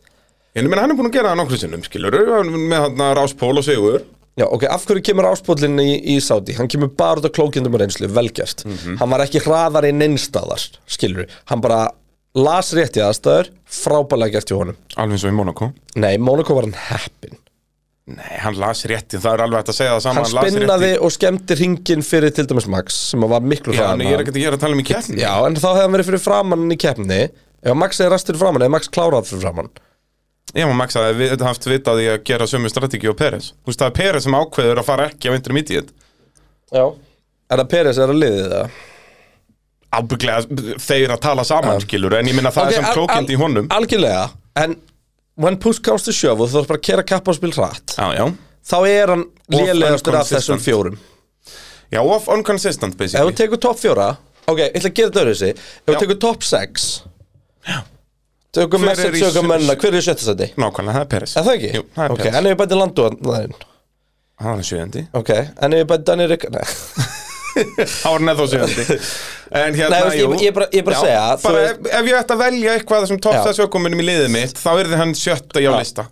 B: Ég meina hann er búin að gera það nokkru sinnum, skilur með hann að Rás Pól og Sigur
A: Já, ok, af hverju kemur áspólinn í, í Saudi? Hann kemur bara út af klókindum og reynslu, velgjast.
B: Mhm.
A: Hann var ekki hraðar í neinstaðar, skilur Hann bara las rétt í aðstæður, frábælega gert hjá honum.
B: Alveg eins og í Monaco
A: Nei, Monaco var hann heppin.
B: Nei, hann las rétti, það er alveg hægt að segja það
A: Hann,
B: saman
A: spinnaði og skemdi ringin fyrir til dæmis Max, sem var miklu
B: Já,
A: hraðar. en
B: en ég er
A: hann.
B: ekkert að gera að tala um í keppni
A: Já, en þá hefði hann verið fyrir framann í keppni. Ef Max er rastur fyrir framann, eða Max klárað fyrir framann.
B: Ég maður maksa að við haft vitað í að gera sömu strategi og Peres Þú veist, það er Peres sem ákveður að fara ekki á intermediate
A: Já. Er það Peres, er það liðið það?
B: Ábygglega þeir að tala saman, skilur En ég minna það
A: Ok,
B: er
A: al-
B: sem klókind
A: al-
B: í honum
A: Algjörlega, en when push comes to shove og þú þarf bara að kera kappa og spil hratt
B: Já, já
A: þá er hann lélegastur af
B: inconsistent.
A: þessum fjórum
B: Já, off unconsistent,
A: ef þú
B: basically
A: tekur topp fjóra ok, ég ætla að gera þetta öðru þessi ef þú
B: Já.
A: tekur topp sex tökum
B: Hver er
A: message,
B: í
A: tökum
B: sjö-
A: mönna hver er í sjötta sæti?
B: Nákvæmlega, það er Peres
A: Er það ekki?
B: Jú, það er
A: ok,
B: Peres
A: en ef ég bæti landu þarinn
B: Hann er sjöðandi
A: ok, en ef ég bæti Danny Rick nei,
B: Hárn er þó sjöðandi En
A: Nei,
B: hérna,
A: þú veist,
B: jú
A: ég- ég er bara- ég er bara að segja, þú
B: bara
A: veist-
B: ef, ef ég ætti að velja eitthvað sem
A: Já.
B: topsa sjökumunum í liðið mitt Þá er þið hann sjötta í á lista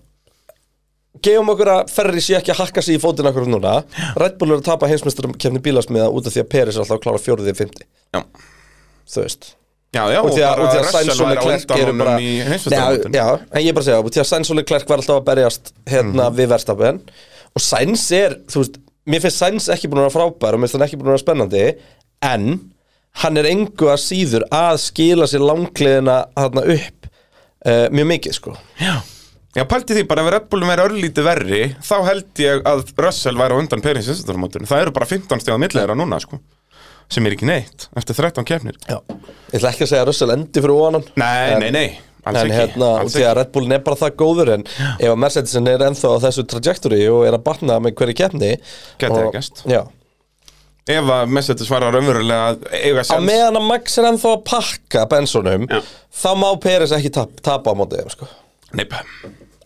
A: gefum okkur að Ferri sé ekki að hakka sig í fótinn okkur núna Red Bull er að tapa heimsmeistarum kemni bílasmiða út af því að Peris er alltaf að klára fjórðið í fymti
B: Já,
A: þú veist
B: já, já
A: og því að, og því að
B: Russell
A: Sainz og
B: væri á
A: Leclerc
B: undan
A: eru bara
B: honum í
A: já,
B: heimsmeistaramótinu.
A: já, en ég er bara að segja og því að Sainz og Leclerc var alltaf að berjast hérna
B: Mhm.
A: við verðstafin og Sainz er, þú veist, mér finnst Sainz ekki búin að vera frábær og mér finnst hann ekki búin að vera spennandi en hann er engu að síður að skila sér langliðina þarna upp uh, mjög mikið sko
B: Já, já pælti því bara ef Red Bullum er örlítið verri Þá held ég að Russell væri á undan Perins heimsmeistaramótinu Það eru bara 15 stegað millera núna, sko Sem er ekki neitt, eftir 13 kefnir
A: já. ég ætla ekki að segja að Russell endi fyrir onan
B: Nei,
A: En-
B: nei, nei Alls
A: en
B: ekki,
A: hérna,
B: alls
A: því að Red Bullin er bara það góður en ef að Mercedesin er ennþá á þessu trajectory og er að batna með hverju keppni
B: Gæti
A: og-
B: það gerst.
A: Já.
B: Ef að Mercedes var að raunverulega að
A: á
B: eiga sens
A: meðan að Max er ennþá að pakka Bensonum,
B: Já.
A: þá má Peres ekki tap, tapa á mótið sko.
B: Neip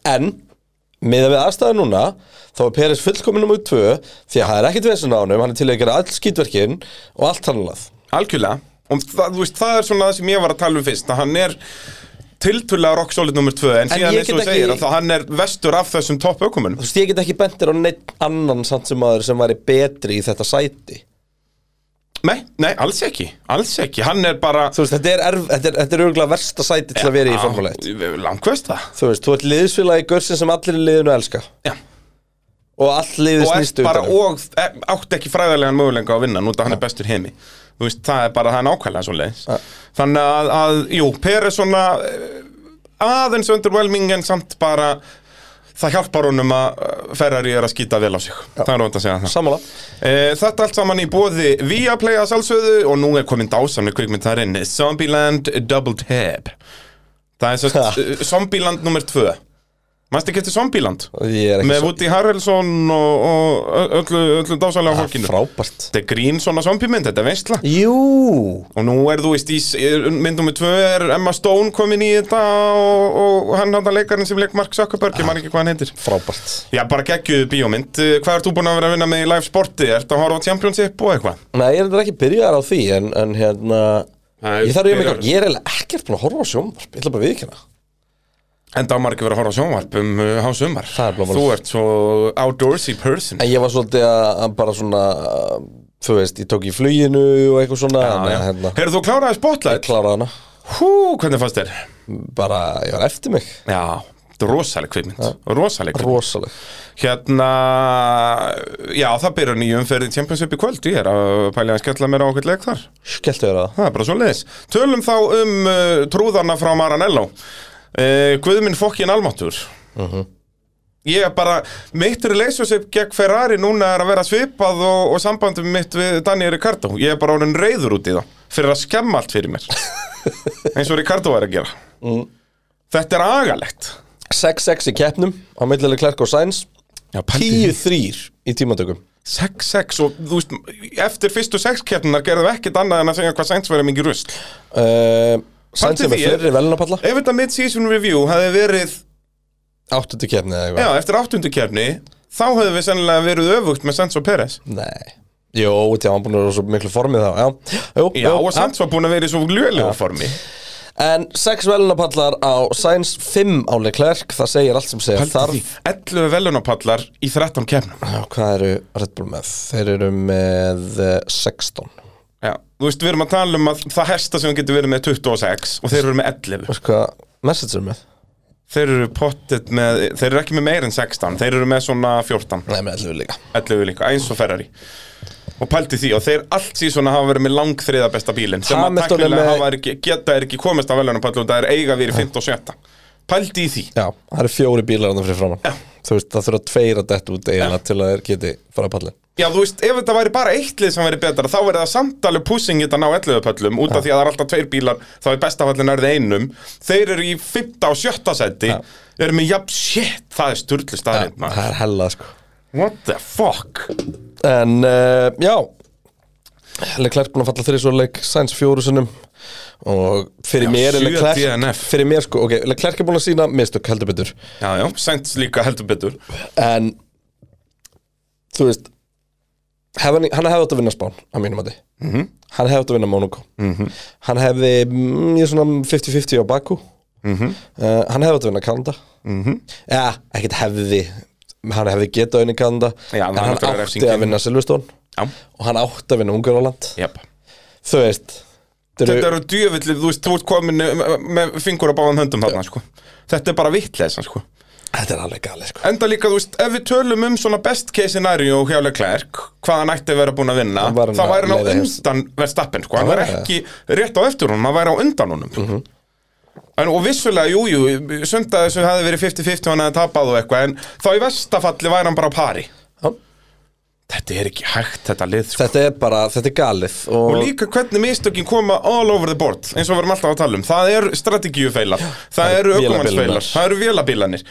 A: en miða við aðstæðu núna þá er Peres fullkominum út tvö því að það er ekkit vesen á honum, hann er til að gera all skýtverkin og allt hannalað
B: Algjörlega Og það, þú veist, það er svona það sem ég var að tala um fyrst að hann er tiltulega rock solid nummer 2 en,
A: En
B: síðan
A: ég get
B: eins og þú
A: ekki-
B: segir að það- hann er vestur af þessum topp aukumunum
A: þú veist, ég get ekki bentir á neitt annan samt sem aður sem væri betri í þetta sæti
B: Nei, nei, alls ekki, alls ekki Hann er bara
A: þú veist, þetta er, erf, þetta er, þetta er örgulega versta sæti til að vera í Formule 1
B: Langkvæst það
A: þú veist, þú ert liðsfélagi görsin sem allir í liðinu elska
B: Já
A: og allt liðið
B: og
A: snýst um.
B: ert bara
A: utanum
B: og e- átt ekki fræðarlegan mögulega að vinna nút að hann er bestur heimi þú veist, það er bara það er nákvæmlega svo leiðis þannig að, að jú, Per er svona eh, aðeins underwhelming en samt bara það hjálpar honum að eh, Ferrari er að skýta vel á sig það er rónd að segja það
A: sammála
B: e, þetta allt saman í bóði Viaplay að sjálfsögðu og nú er komin dásamlega kvikmynd þar inn Zombieland Double Tab það er svo eh, Zombieland nummer 2 Manstu ekki eftir Zombieland?
A: ég er
B: með
A: ekki
B: Woody Harrelson og, og öllu, öllu dásalega fólkinu
A: frábært
B: Þetta er grín svona zombiemynd, þetta er veistla
A: jú,
B: Og nú er þú veist í s- er- mynd nummer tvö er Emma Stone komin í þetta og, og hann hann leikarinn sem leik Mark Zuckerberg, ég man ekki hvað hann heitir
A: frábært
B: Já, bara geggjuðu bíómynd Eh, Hvað ert þú búin að vera að vinna með í live sporti? Ertu að horfa á championship og eitthvað?
A: nei, ég er þetta ekki byrjaðar á því en, en hérna
B: Nei,
A: ég þarf ég
B: byrjaður.
A: mikilvægt, ég er eiginlega ekkert búin að horfa á sjónvarp ég ætla bara að viðkjöna
B: En það margir verið að horfa á sjónvarp um uh, há sumar
A: Það er bara
B: Þú
A: málið.
B: ert svo outdoorsy person
A: en ég var svolítið að að bara svona að, þú veist, ég tók í fluginu og eitthvað svona en,
B: Já, já.
A: hérna,
B: Heyrðu þú kláraði
A: ég
B: spotlight?
A: kláraði hana
B: Hú, hvernig fannst þér?
A: bara, ég var eftir mig
B: Já, þetta er rosaleg kvikmynd Rosaleg kvikmynd
A: rosaleg
B: Hérna, já það byrjar nýju umferðin Championship í kvöld Ég er að pæla að skella mér á okkur leik þar
A: skelltu þér að
B: Það er bara svo leiðis Tölum þá um uh, trúðarna frá Maranello uh, Guðminn fokkin almáttur Ég er bara, mitt relationship gegn Ferrari núna er að vera svipað og, og sambandum mitt við Daniel Ricardo Ég er bara orðin reyður út í það fyrir að skemma allt fyrir mér eins og Ricardo er að gera Þetta er agalegt
A: 6-6 í keppnum á millileg klerk og sæns
B: Já,
A: 10-3 í tímatökum
B: 6-6 og þú veist, eftir fyrstu 6 keppnunar gerðum við ekkert annað en að segja hvað Sainz verið mikið rusl
A: uh, sæns
B: Pældi
A: er með
B: því, ég-
A: fyrri velunapalla
B: Ef þetta mid-season review hefði verið,
A: 8. keppni eða
B: já,
A: eitthvað
B: eftir 8. keppni þá hefði við sennilega verið öfugt með Sainz og Peres
A: nei Jó, því að hann búin að vera svo miklu formið þá Já, jú,
B: Já,
A: jú,
B: og Sainz var búin að vera í svo ljölega formi
A: En sex velunapallar á Sainz, fimm á Leclerc, það segir allt sem segir
B: Pældi því,
A: þarf
B: 11 velunapallar í 13 keppnum
A: Já, hvað eru Red Bull með? Þeir eru með eh, 16
B: Já, þú veist, við erum að tala um að það hesta sem getur verið með 26 og þeir eru með 11
A: Veistu hvað message eru með?
B: Þeir eru pottet með, þeir eru ekki með meir en 16 þeir eru með svona 14
A: Nei, með 11 líka
B: 11 líka, eins og Ferrari og pælti því og þeir allt síðan hafa verið með langþriða besta bílinn sem að
A: Hamilton er
B: teknilega
A: með-
B: hafa er ekki, geta er ekki komist af velunum pælti og það er eiga verið 15 og 17 pælti í því
A: Já, það eru fjóri bílar hann fyrir framann Þú veist, það þurfa tveir að detta út eiginlega til að þeir geti fara að pallin
B: Já, þú veist, ef þetta væri bara eitt lið sem væri betra þá verið það samt alveg pussing þetta að ná 11 pöllum út af því að það er alltaf tveir bílar þá er bestafallin erði einum þeir eru í 15 og 17 seti eru með, jafn, shit, það er sturlu staðrind
A: Það
B: maður.
A: er hella, sko
B: What the fuck?
A: En, uh, já Leclerc búin að falla þrið svo leik Sainz fjóru sinnum Og fyrir
B: Já,
A: mér er
B: sjö
A: Leclerc
B: DNF.
A: Fyrir mér, sko, ok, Leclerc er búin að sína mistök heldur betur
B: Já, já, sent líka heldur betur
A: En, þú veist hef hann, hann hefði átt að vinna spán á mínum að -hmm. Hann hefði átt að vinna Monaco -hmm. Hann hefði, mm, ég er svona 50-50 á Baku Uh, hann hefði átt að vinna Kanada mm -hmm. ja, ekkert hefði hann hefði getað unni Kanada
B: Já,
A: en
B: það er
A: hann
B: náttúrulega
A: átti
B: refsingin.
A: að vinna Silveston
B: Já,
A: og hann átti að vinna Ungaroland
B: jafn
A: þú veist
B: Þetta eru djöfillið, þú veist, þú ert komin eh, með fingur á báðan höndum þarna, sko. Þetta er bara vittlega, sko.
A: þetta er alveg galið sko.
B: Enda líka, þú veist, ef við tölum um svona best case scenario hjá Leclerc, hvað hann ætti að vera búin að vinna,
A: Þá var hann
B: þá
A: að
B: væri hann á
A: leiða heim.
B: undan verðstappin, sko. Hann
A: Það
B: var
A: væri
B: ekki rétt á eftir honum, hann væri á undan honum.
A: Mhm.
B: En, og vissulega, jú, jú, sunda þessu hefði verið 50-50 og hann hefði tapað og eitthvað, en þá í vestafalli væri hann bara á pari.
A: Já.
B: þetta er ekki hægt, þetta lið sko.
A: Þetta er bara, þetta er galið og,
B: og líka hvernig mistökin koma all over the board eins og við erum alltaf að tala um, það eru strategíufeilar það
A: eru
B: eru
A: vélabilanir.
B: aukumannsfeilar, það eru vélabilanir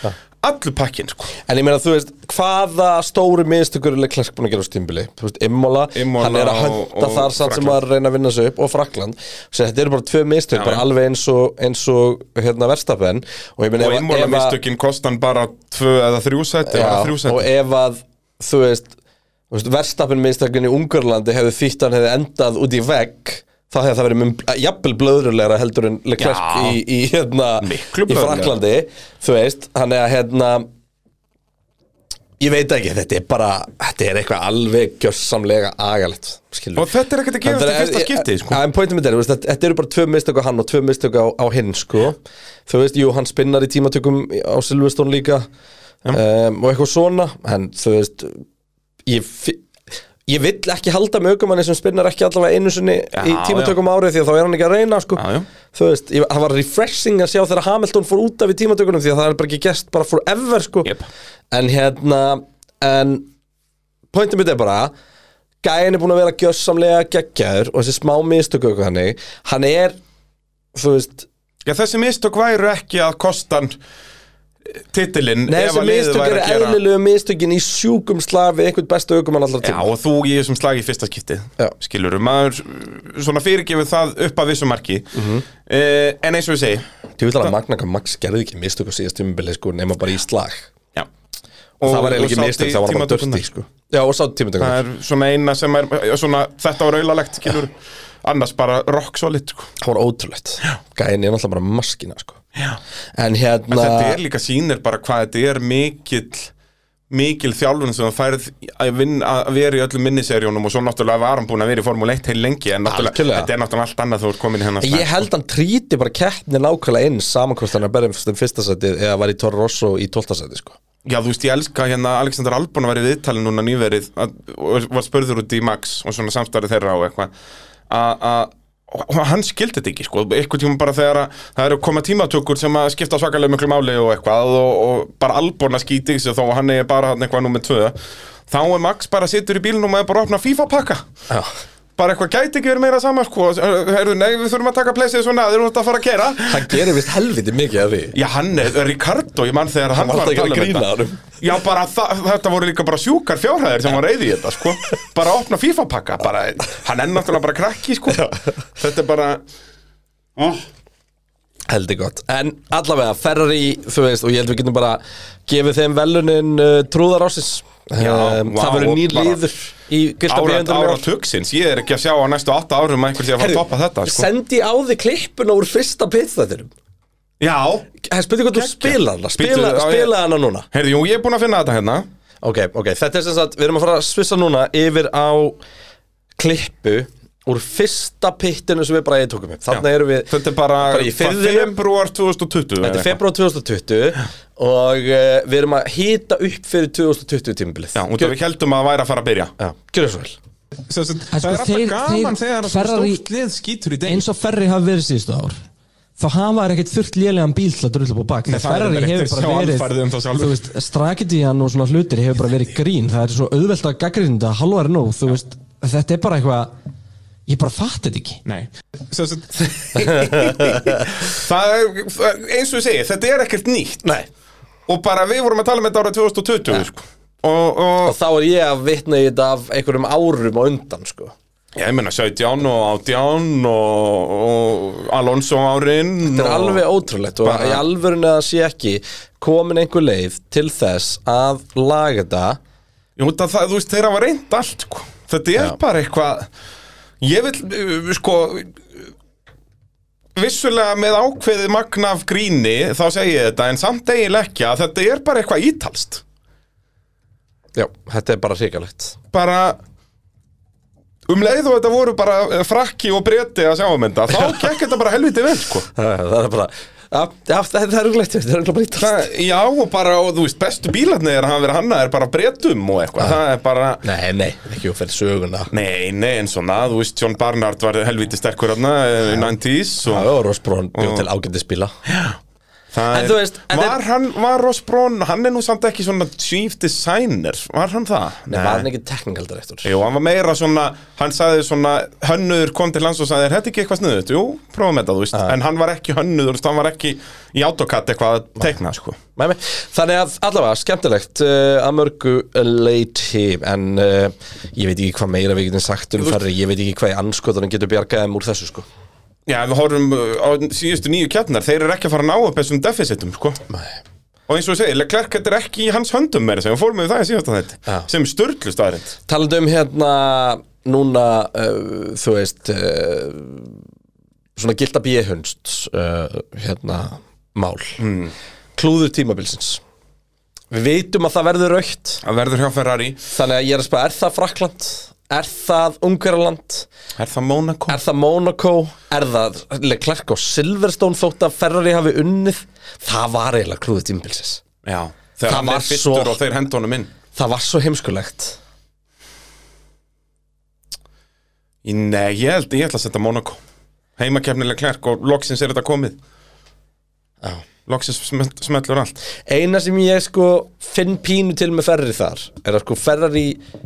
B: allur pakkin sko.
A: En ég meina, þú veist, hvaða stóru miðstökur er Leclerc búin að gera á stímbili? Þú veist, Immola,
B: Imola
A: hann er að
B: og-
A: hönda
B: og
A: þar samt sem
B: Frakkland.
A: að reyna að vinna sig upp og Frakland, þessi þetta eru bara tvö miðstök,
B: Já,
A: bara
B: já.
A: alveg eins og, eins og hérna verstapenn og ég meina,
B: og
A: ef að-
B: einmóla
A: ef að-
B: mistökin kostan bara tvö eða þrjú seti,
A: Já,
B: bara þrjú
A: og
B: seti
A: ef að þú veist, þú veist verstafinn minnstakunni í Ungarlandi hefði þýtt að hann hefði endað út í vegg þá hefði það verið mun, eh, jafnvel blöðrulegra heldur en Leclerc
B: Já.
A: í, í, hérna,
B: Miklu
A: í
B: blöðrulegra.
A: Fraklandi þú veist, hann er að hérna ég veit ekki, þetta er bara þetta er eitthvað alveg gjörsamlega agalegt, skilur
B: og þetta er ekkert að gerast í fyrsta skipti sko.
A: En pointum mitt er, þú veist, þetta- þetta eru bara tvö mistök á hann og tvö mistök á, á hinn sko. Þú veist, jú, hann spinnar í tímatökum á Silveston líka um, og eitthvað svona en þú veist ég, fi- ég vill ekki halda með aukumanni sem spinnar ekki allavega einu sinni í
B: Já,
A: tímatökum árið því að þá er hann ekki að reyna sko.
B: Já, já.
A: þú veist, ég, það var refreshing að sjá þegar Hamilton fór út af í tímatökunum því að það er bara ekki gest bara forever sko.
B: Jep.
A: en hérna en pointum mitt er bara gæin er búin að vera gjössamlega geggjaður og þessi smá mistöku og þannig hann er, þú veist
B: Já, þessi mistök væru ekki að kostan titilinn
A: Nei,
B: ef
A: þessi
B: að liðið
A: mistök
B: væri
A: eru
B: að gera-
A: eðlilegu mistökin í sjúkum slag við einhvern bestu aukumann allar
B: Já,
A: tíma
B: og þú í þessum slag í fyrsta skipti
A: Já.
B: Skilur, maður uh, svona fyrirgefur það upp að vissu marki
A: Mhm.
B: uh, En eins og ég segi
A: Þú vil að magna hvað Max gerði ekki mistök á síðast tímabili sko, nema bara í slag
B: Já
A: og,
B: Og-
A: Það var eiginlega
B: og
A: ekki mistök,
B: sátt í
A: það var bara
B: tímatökurnar.
A: dörti sko. Já, og sátt tímatökum
B: Það er svona eina sem er eh, svona, Þetta var auðalegt, skilur Annars bara rock solid sko.
A: Það var ótrúlegt Gæin er náttúrulega bara maskina sko.
B: Já
A: En hérna
B: En þetta er líka sýnir bara hvað þetta er mikill mikil þjálfun sem það færð að, vinna, að vera í öllum minniserjónum og svo náttúrulega var hann búin að vera í Formule 1 heil lengi en náttúrulega,
A: Algjörlega.
B: þetta er náttúrulega allt annað þú ert komin í hennar
A: Ég held hann tríti bara keppni nákvæmlega inn samankostanir að berja um fyrsta setið eða var í Toro Rosso í tólta setið sko.
B: Já, þú veist, ég elska hérna Alexander Albon var í viðtali núna nýverið að, og var spurður út í Max og svona samstarið þeirra og eitthvað að- að og hann skildi þetta ekki, sko, eitthvað tíma bara þegar að það eru að koma tímatökur sem að skipta svakalega miklu máli og eitthvað og, og bara Albon að skýti í sig þó að hann er bara þarna eitthvað númer tvö þá er Max bara situr í bílnum og er bara að opna FIFA pakka
A: Já.
B: bara eitthvað gæti ekki verið meira saman, sko herðu, nei, við þurfum að taka pleysið svona, þeir eru að fara að kera
A: Hann gerir vist helviti mikið af því
B: Já, hann er Ricardo, ég mann þegar hann
A: var
B: var að
A: alltaf
B: tala
A: að
B: um
A: gera grín að
B: þetta
A: honum.
B: Já, bara þa- þetta voru líka bara sjúkar fjárhæðir sem var reyði í þetta, sko Bara að opna FIFA-pakka, bara Hann er náttúrulega bara krakki, sko Þetta er bara
A: Heldig gott En allavega, Ferrari, þú veist og ég held við getum bara gefið þeim velunin uh, trúðar ásins
B: Já, vá,
A: Það verður nýr
B: bara-
A: líður í gilda
B: árat, árat hugsins Ég er ekki að sjá á næstu 8 árum að einhver sé að fara að toppa þetta, sko
A: Sendi á því klippuna úr fyrsta pitstættinum
B: Já,
A: Spyrir hvað þú spilar hana Spila,
B: Bíddu, á ég-
A: spila hana núna
B: heyrðu, jú, ég er búin að finna þetta hérna
A: Ok, ok, þetta er sem sagt, við erum að fara að svissa núna yfir á klippu úr fyrsta pittinu sem við bara eða tókum upp. Þannig erum við,
B: Þetta er bara,
A: Bara í firðinum.
B: februar 2020
A: þetta er februar 2020 og uh, við erum að hýta upp fyrir 2020 tímabilið.
B: Já, út af við heldum að það væri að fara að byrja
A: Já, gjörðu svo vel.
D: Sem sagt,
E: En
D: það er
E: sko,
D: alltaf
E: þeir-
D: gaman
E: þeir-
D: þegar svona
E: Ferrari-
D: stórt lið skýtur í deg
E: eins og Ferri hafi verið síðustu ár þá hafa þær ekkert þurft lélegan bíl til að drulla búið bak
D: Nei, það
E: Nei,
D: er
E: Ferrari
D: reyndar
E: hefur
D: rétt.
E: bara
D: Sjá
E: verið
D: alfarið um þá sjálfur.
E: þú veist, strategiðan og svona hlutir hefur bara verið grín það er svo auðvelt að gaggrinda halvar nú þú veist, þetta er bara eitthvað ég bara fatt þetta ekki
D: Nei Sem sagt,
B: Það er, eins og ég segi, þetta er ekkert
D: sko,
B: nýtt
A: Nei.
B: Og bara við vorum að tala með þetta ára 2020 sko. og,
A: Og
B: og
A: þá er ég að vitna í þetta af einhverjum árum á undan, sko.
B: ég meina 17 og 18 og, og Alonso árin
A: Þetta er alveg ótrúlegt og
B: Bara-
A: í alvörinu að það sé ekki komin einhver leið til þess að laga þetta
B: Jú, það, það, þú veist, þeir hafa reynd allt sko. Þetta er bara eitthvað Ég vil, uh, sko Vissulega með ákveðið magna af gríni Þá segi ég þetta, en samt eiginlega ekki að Þetta er bara eitthvað ítalst
A: Já, þetta er bara hrikalegt.
B: bara um leið og þetta voru bara eh, frakki og breti að sjá um þetta þá gekk þetta bara helviti vel sko.
A: Það er bara, já, já, það er umlegt, þetta er umlegt bara ítast.
B: það, já og bara og, þú veist bestu bílarnir er að vera hanna er bara bretum og eitthvað það er bara
A: Nei, nei, ekki úr fyrir söguna
B: nei nei en svona þú veist John Barnard var helviti sterkur hann 90s
A: Það
B: eh, og
A: Mm. var Rosbrón bjóð til ágændi spila
B: Það
A: En
B: er-
A: þú veist, en
B: Var
A: þeir-
B: hann, var Ross Brown, hann er nú samt ekki svona chief designer Var hann það?
A: Nei, var hann ekki technical director?
B: Jú, hann var meira svona, hann sagði svona hönnuður kom til hans og sagði, er þetta ekki eitthvað snuðut? Jú, prófum þetta, þú veist, en hann var ekki hönnuður, þú veist, hann var ekki í AutoCAD eitthvað að tekna, sko
A: Nei, nei. Þannig að allavega skemmtilegt uh, að mörgu leiti en uh, ég veit ekki hvað meira við getum sagt um ferri, ég veit ekki hvað í anskotanum getur bjargaðum úr þessu sko
B: Já, ef við horfum uh, á síðustu nýju kjarnar, þeir eru ekki að fara að ná upp þessum deficitum, sko
A: Nei.
B: Og eins og ég segi, Leclerc, þetta er ekki í hans höndum meira, sem við fórum við það í síðasta þetta
A: Já.
B: Sem sturlu staðarind
A: Talandi um hérna núna uh, þú veist uh, svona gilda bíhunst uh, hérna mál mm. klúður tímabilsins við vitum að það verður aukt
B: Það verður hjá Ferrari
A: þannig að ég er að spá, er það Frakland? Er það Ungverland?
B: Er það Monaco?
A: Er það Monaco? Er það Leclerc og Silverstone þótt að Ferrari hafi unnið? Það var eiginlega klúðið tímabilsis
B: Já, þegar
A: Það
B: hann
A: var
B: er
A: svo-
B: fyrstur og þeir henda honum inn
A: Það var svo heimskulegt
B: Í- Nei, ég held, ég ætla að setja Monaco Heimakefnileg klærk og loksins er þetta komið
A: Já.
B: Loksins smell- smellur allt
A: Eina sem ég sko finn pínu til með Ferrari þar er að sko Ferrari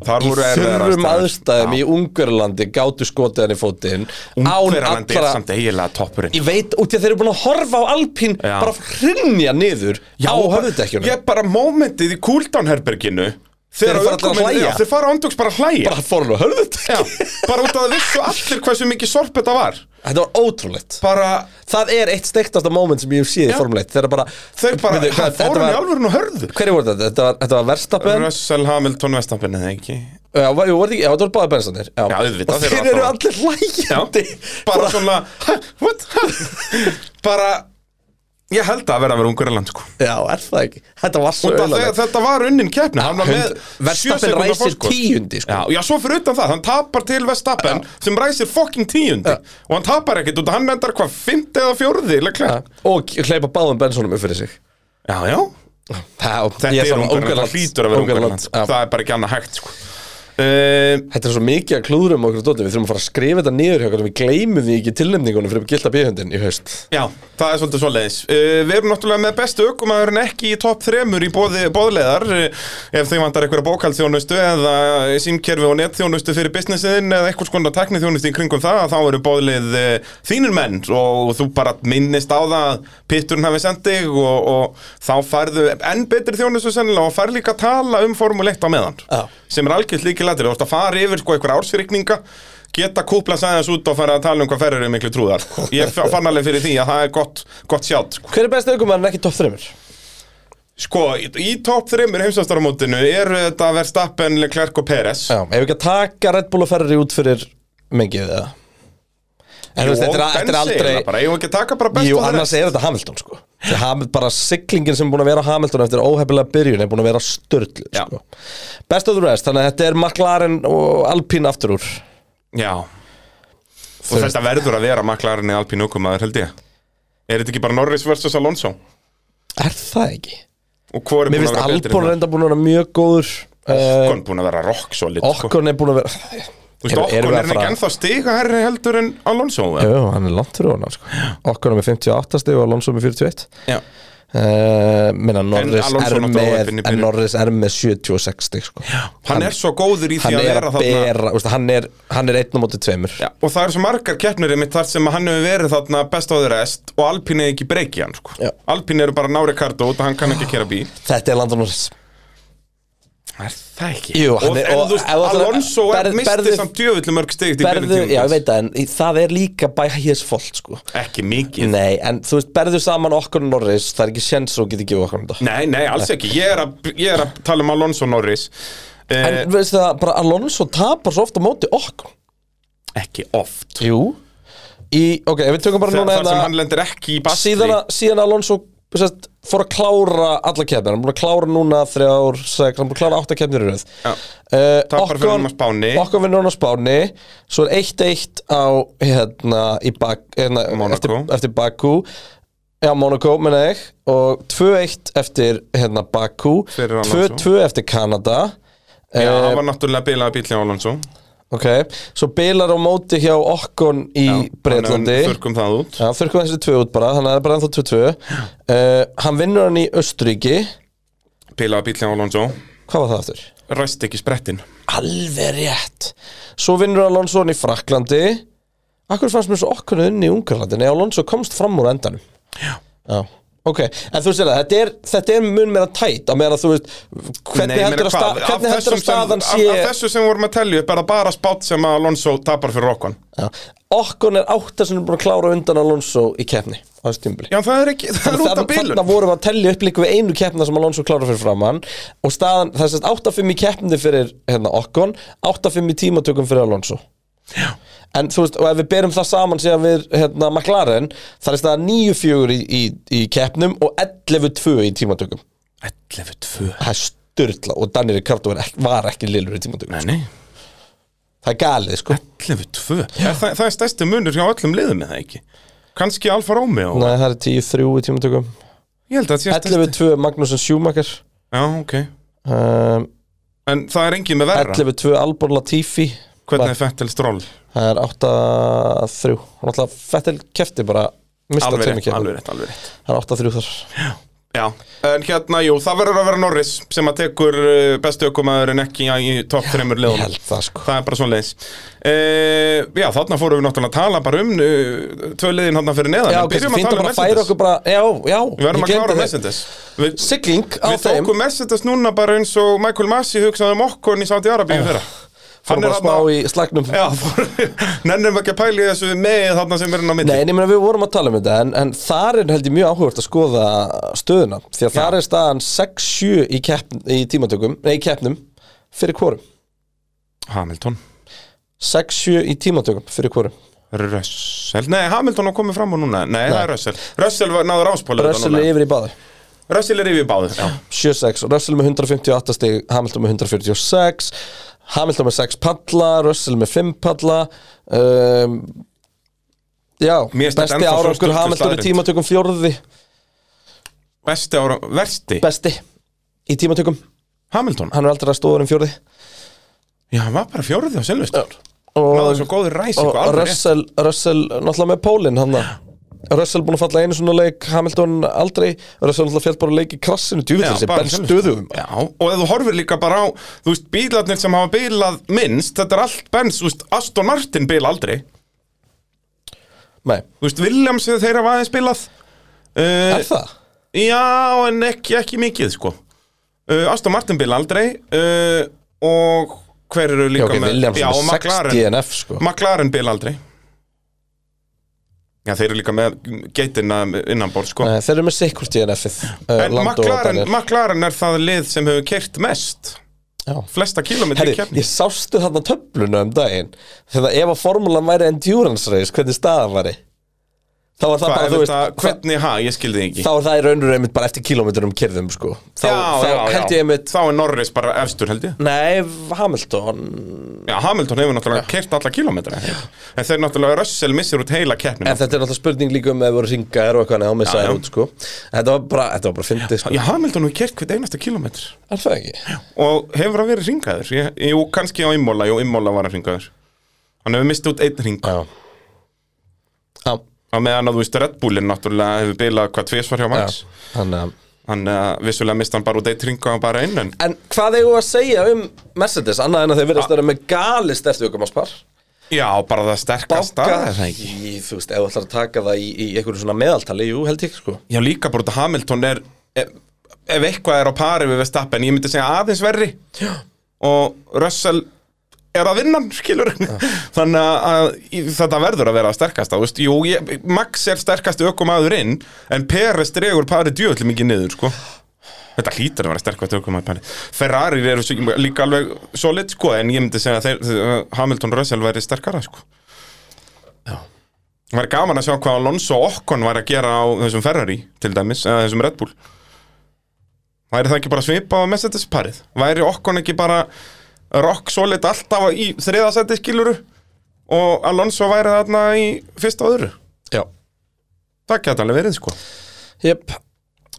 B: Þar
A: í
B: voru erfiðar
A: þurrum
B: aðstæður.
A: aðstæðum
B: Já.
A: í Ungverlandi gátu skotið hann í fótinn
B: Ungverjalandi er samt eiginlega toppurinn
A: Ég veit út í að þeir eru búin að horfa á Alpín
B: Já.
A: bara hrinja niður á
B: og bara-
A: höfðutekjunum
B: Ég bara momentið í cooldown-herberginu
A: Þeir
B: Þegar
A: fara allir að
B: ökumenn-
A: hlæja.
B: Já, Þeir fara ándjóks bara að hlæja
A: bara fór hann á höfðutekjunum
B: Já, bara út af að vissu allir hversu mikið sorp þetta var
A: Þetta var ótrúlegt
B: Bara,
A: Það er eitt steiktasta moment sem ég hef séð í
B: Já.
A: Formule 1 Þegar bara
B: þeir bara,
A: Veitu,
B: það
A: hvað- þetta
B: fórum í
A: var-
B: alvörun og hörðu
A: Hverju voru þetta? Þetta var, þetta var Verstappen Já,
B: Russell Hamilton Vestapen eða ekki
A: var- jú, voru þetta ekki- já, þetta voru báði bensanir Já,
B: Já, auðvitað,
A: Og
B: þeir
A: þeir
B: eru
A: eru
B: bara-
A: allir hlægjandi
B: bara svona "Ha, what? Ha?" bara ég held að vera að vera ungur í land sko
A: Já, er það ekki? Þetta var svo
B: og það,
A: öðlega
B: þetta var unnin keppni hann var með sjö
A: Verstappen
B: sekúndna
A: ræsir
B: forskot.
A: tíundi sko.
B: Já, já, svo fyrir utan það, hann tapar til Vestapen sem ræsir fucking tíundi og hann tapar ekkert út, af- hann endar hvað, fymti eða fjórði, leiklega Já,
A: Og hleypa báðum bensónum upp fyrir sig
B: já,
A: Já,
B: þetta
A: ég
B: er
A: sammála,
B: ungur í land,
A: Ungverjaland,
B: það hlýtur að vera ungur í
A: Ungverjaland,
B: land
A: já.
B: það er bara ekki annað hægt sko uh,
A: Þetta er svo mikið að klúðrum okkur dóti Við þurfum að fara að skrifa þetta niður hjá okkur Við gleymum því ekki tilnefningunum fyrir gilda bíðhundin í haust
B: Já, það er svolítið svoleiðis uh, Við erum náttúrulega með bestu ökumæður en ekki í topp þremur í boði, boðleðar uh, ef þau vantar einhverja bókaldþjónustu eða símkerfi og netþjónustu fyrir businessin eða einhvers konar tekniþjónustu í kringum það þá eru boðleið uh, þínir menn og þú bara minnist á það að pitturinn hafi sendt þig og, og þá færðu enn betri þjónustu sennilega og fær líka að tala um formuleitt á meðan
A: Já.
B: sem er algjörð líkilættir, þú ert að fara yfir sko einhverja ársfyrikninga geta kúpla sæðans út og fara að tala um hvað ferður er miklu trúðar ég f- fann alveg fyrir því að það er gott, gott sjátt sko.
A: Hver er besti aukumann ekki topp þreymur?
B: sko, í, í topp þreymur heimsvæmstaramótinu er þetta Verstappen, Leclerc og Peres
A: Já, ef við ekki að taka Red Bull og Ferrari út fyrir mengið eða En þú veist, þetta er- þetta er aldrei
B: bara, ég var ekki að taka bara best
A: Jú,
B: og það
A: annars er þetta Hamilton sko Þetta er Ham- bara siglingin sem er búin að vera á Hamilton eftir óhefilega byrjun er búin að vera störtlu
B: Já.
A: sko. Best of the rest, þannig að þetta er McLaren og Alpine aftur úr
B: já, og þetta verður að vera maklarinn í Alpín okkumaður held ég er þetta ekki bara Norris vs. Alonso
A: Er það ekki?
B: og hvor er
A: Mér
B: búin
A: finnst
B: að vera betri Sko,
A: Albon
B: en það?
A: reynda búin að vera mjög góður Eh,
B: Ocon búin að vera rock solid sko.
A: Okkon er búin að vera
B: Þú veist,
A: Oh, Eru-
B: Okkon
A: við að
B: er hann
A: fara-
B: ekki ennþá stiga herri heldur en Alonso eða?
A: Jú, hann er langt fyrir hann sko. Okkon er með 58 stig og Alonso með 41
B: Já.
A: Uh, minna Norris er
B: Alonso náttúrulega
A: með
B: óheppinn í
A: en
B: byrjun.
A: Norris er með 76 stig sko.
B: Hann er svo góður í því
A: hann
B: að
A: er
B: vera
A: að
B: þarna
A: bera, úst, hann er hann er einn á móti tveimur
B: Já, og það eru svo margar keppnir einmitt þar sem að hann hefur verið þarna best á þeir rest og Alpine er ekki breykið hann sko.
A: Já.
B: Alpine eru bara nári kartu út og hann kann ekki kera bíl
A: þetta er Landon Norris
B: Er það ekki?
A: Jú,
B: og
A: hann er-
B: en
A: og-
B: þú veist,
A: ef þú ætlar að-
B: Alonso er
A: berð-
B: misti
A: berðu-
B: samt djöfullu mörg stigt í
A: berðu,
B: byrjun
A: já ég
B: tímabils.
A: veit það en í- það er líka by his fault sko.
B: Ekki mikið
A: nei, en þú veist, berðu saman okkur og Norris það er ekki sjens og getur gefið okkur um þetta
B: Nei, nei, alls ekki Ég er að, ég er að tala um Alonso Norris eh,
A: en veistu það, bara Alonso tapar svo ofta móti okkur
B: Ekki oft
A: jú í, ok, ef við tökum bara
B: Þar,
A: núna
B: þar sem
A: hérna-
B: hann lendir ekki í basti
A: síðan, að- síðan Alonso sest, fór að klára alla keppnir hann er búin að klára núna þrjár sex, hann er búin að klára átta keppnir í röð
B: Já.
A: Eh,
B: Tapar fyrir
A: Ocon-
B: honum á Spáni.
A: Ocon fyrir honum á Spáni svo er 1-1 á hérna, í bak, hérna, eftir,
B: Monaco.
A: eftir Baku Já, Monaco, menna ég og 2-1 eftir hérna, Baku
B: Fyrir Alonso.
A: 2-2 eftir Kanada
B: Já,
A: Eh,
B: hann var náttúrulega bilaða bíl hjá Alonso
A: ok, svo bilar á móti hjá okkon í Breitlandi
B: Þurkum það út
A: hann þurrkum þessi tvö út bara, þannig að það er bara ennþá 2-2 uh, hann vinnur hann í Östuríki
B: Pilaði bíl hjá Alonso
A: hvað var það aftur?
B: Ræst ekki sprettin
A: alveg rétt svo vinnur Alonso hann í Fraklandi akkur fannst mér svo okkonu unni í Ungarlandi nei Alonso komst fram úr endanum já, ok, en þú veist það þetta er, þetta er mun meira tætt á meðan að þú veist hvernig
B: Nei, ég
A: heldur
B: meina
A: að, sta,
B: hvað? Af
A: hvernig heldur
B: þessum
A: að staðan
B: sem, af, af
A: sé
B: þessu sem vorum að telja upp er það bara spátt sem að Alonso tapar fyrir okkan
A: Já. okkon er átta sem er búin að klára undan Alonso í kefni á þessu tímbili
B: Já, það er ekki, það er út af bílun
A: Þannig vorum við að tellja upp líka við einu keppna sem Alonso klára fyrir framann og staðan, það er sérst 8-5 í keppni fyrir hérna, Okkon, 8-5 í tímatökum fyrir Alonso En þú veist, og ef við berum það saman síðan við hérna, McLaren, það er staðan 9-4 í, í, í keppnum og 11-2 í tímatökum
B: 11-2
A: Það er styrla og Danny Ricardo var ekki, var ekki lillur í tímatökum
B: Nei, nei,
A: Það er galið, sko
B: 11-2 Er það, það er stærsti munur hjá öllum liðum með það ekki Kanski Alfa Romeo
A: Nei, það er 10-3 í tímatökum
B: Ég held að það sé stærsti
A: 11-2 Magnússon Schumacher
B: Já, ok
A: um,
B: En það er engin með verra
A: 11-2 Albon Latifi
B: Hvernig er Fettel Stroll
A: Það er 8-3 Hann alltaf Fettel kefti bara Mista
B: Alveg
A: tveimur
B: rétt,
A: keppnum.
B: alveg rétt, alveg rétt
A: Það er 8-3 þar
B: Já, en hérna, jú, það verður að vera Norris sem að tekur eh, bestu ökumæðurinn ekki í topp þreymur
A: Ég
B: liðunum
A: held það sko
B: það er bara svona leis já, þarna fórum við náttúrulega að tala bara um uh, tvö liðin hann fyrir neðan
A: Já,
B: En
A: ok,
B: byrjum að
A: fínt að
B: tala um
A: bara færa
B: Mercedes
A: okkur bara Já, já
B: við verðum
A: ég
B: að klára
A: gleymdi þeim.
B: Mercedes við,
A: Sigling á
B: við
A: þeim
B: tókum Mercedes núna bara eins og Michael Massey hugsaði um okkur í Saudi Arabíu fyrra
A: Fórum bara smá í slagnum
B: já, fór- nennum við ekki að pæli þessu með þarna sem er hann á mitt
A: Nei, en ég meina við vorum að tala um þetta en, en þar er held ég mjög áhugavert að skoða stöðuna Því að þar er staðan 6-7 í, keppn- í tímatökum Nei, í keppnum Fyrir hvorum
B: Hamilton
A: 6-7 í tímatökum Fyrir hvorum
B: Russell, nei Hamilton har komið fram á núna Nei, það er Russell, Russell var- náður áspóla
A: Russell er yfir í báði
B: Russell er yfir báður já.
A: 7-6 Russell með 158 stig, Hamilton með 146 Hamilton með 6 palla, Russell með 5 palla um, Já,
B: Mér finnst þetta
A: besti
B: ennþá svo
A: árangur
B: stórkostleg
A: Hamilton í
B: staðreynd.
A: tímatökum fjórði
B: Besti ára, versti,
A: Besti í tímatökum,
B: Hamilton
A: hann er aldrei að stóður um fjórði
B: Já, hann var bara fjórði á Silvestor Náðu
A: Og,
B: svo góður ræsing
A: og
B: og sko alveg rétt.
A: Russell, Russell náttúrulega með pólinn hann að Russell búin að falla einu svona leik Hamilton aldrei, Russell náttúrulega fjall bara leik í krassinu, djúvill
B: Já,
A: þessi,
B: bara
A: benn
B: sjálfur.
A: stöðum
B: Já, og ef þú horfir líka bara á Þú veist, bílarnir sem hafa bílað minnst Þetta er allt bens, þú veist, Aston Martin bíla aldrei
A: Nei,
B: Þú veist, Williams þeir hafa aðeins bílað
A: er
B: uh,
A: það?
B: Já, en ekki, ekki mikið, sko uh, Aston Martin bíla aldrei uh, Og hver eru
A: Já,
B: líka
A: ok, Williams
B: já, og
A: með 6
B: McLaren
A: DNF sko
B: McLaren bíla aldrei Já, þeir eru líka með geitina innanbord, sko
A: Nei, þeir eru með sikkurt í NF-ið uh,
B: En McLaren, McLaren er það lið sem hefur keirt mest
A: Já.
B: Flesta kilómetri
A: Herri,
B: í keppni
A: ég sástu þarna töfluna um daginn Þegar ef að formúlan væri endurance race Hvernig staðan væri Þá var það
B: Hvað,
A: bara,
B: ef
A: þú veist
B: þetta,
A: hvern...
B: hvernig, ha, ég skildi ekki
A: Þá er það í raunur einmitt bara eftir kilometrum kyrðum sko. Þá, þá held ég einmitt
B: Þá er Norris bara efstur held ég
A: Nei, Hamilton
B: Já, Hamilton hefur náttúrulega keirt alla kilómetra En þeir náttúrulega Russell missir út heila keppnum
A: En þetta er náttúrulega spurning líka um Ef það voru ringaðir og eitthvað Nei, þá
B: Já,
A: missaði
B: já.
A: út sko. Þetta var bara, þetta var bara fyndið sko.
B: Já, Hamilton hefur keirt hvert einasta kilómetr
A: Er það ekki?
B: Og hefur að vera ringaður Ég- Jú, kannski á Immola, jú, Immola var að ringaður Hann hefur mistið út einn ring
A: Já Já,
B: Á meðan að þú veist Red Bullin náttúrulega hefur bilað hvað tvisvar hjá
A: já
B: Max
A: Þannig að
B: Hann uh, vissulega mist hann bara út einn ring og bara inn en
A: En hvað eigum við að segja um Mercedes annað en að þeir
B: Ah.
A: verðast að vera með gali stertu aukumáspar
B: Já, bara það sterkasta er það ekki?
A: í, þú veist, ef þú ætlar að taka það í, í einhverju svona meðaltali, jú, held ég sko
B: Já, líka bara út að Hamilton er ef, ef eitthvað er á pari við Verstappen ég myndi segja aðeins verri Já. og Russell er að vinna hann, skilur þannig að, að í- þetta verður að vera að sterkasta þú veist, jú, ég, Max er sterkasti ökumaður inn en Peres dregur pari djöfulli mikið niður sko Þetta hlýtur að vera sterkast ökumaður pari Ferrari eru svo- líka alveg solid sko en ég myndi segja að þeir, þeir- Hamilton og Russell væri sterkara sko Það væri gaman að sjá hvað Alonso og Okkon var að gera á þessum Ferrari til dæmis, eða þessum Red Bull Væri það ekki bara svipa á Mercedes parið? Væri Okkon ekki bara rock solid alltaf í þriðasæti skiluru og Alonso væri þarna í fyrsta og öðru
A: Já
B: Það gæti alveg verið sko
A: Jep,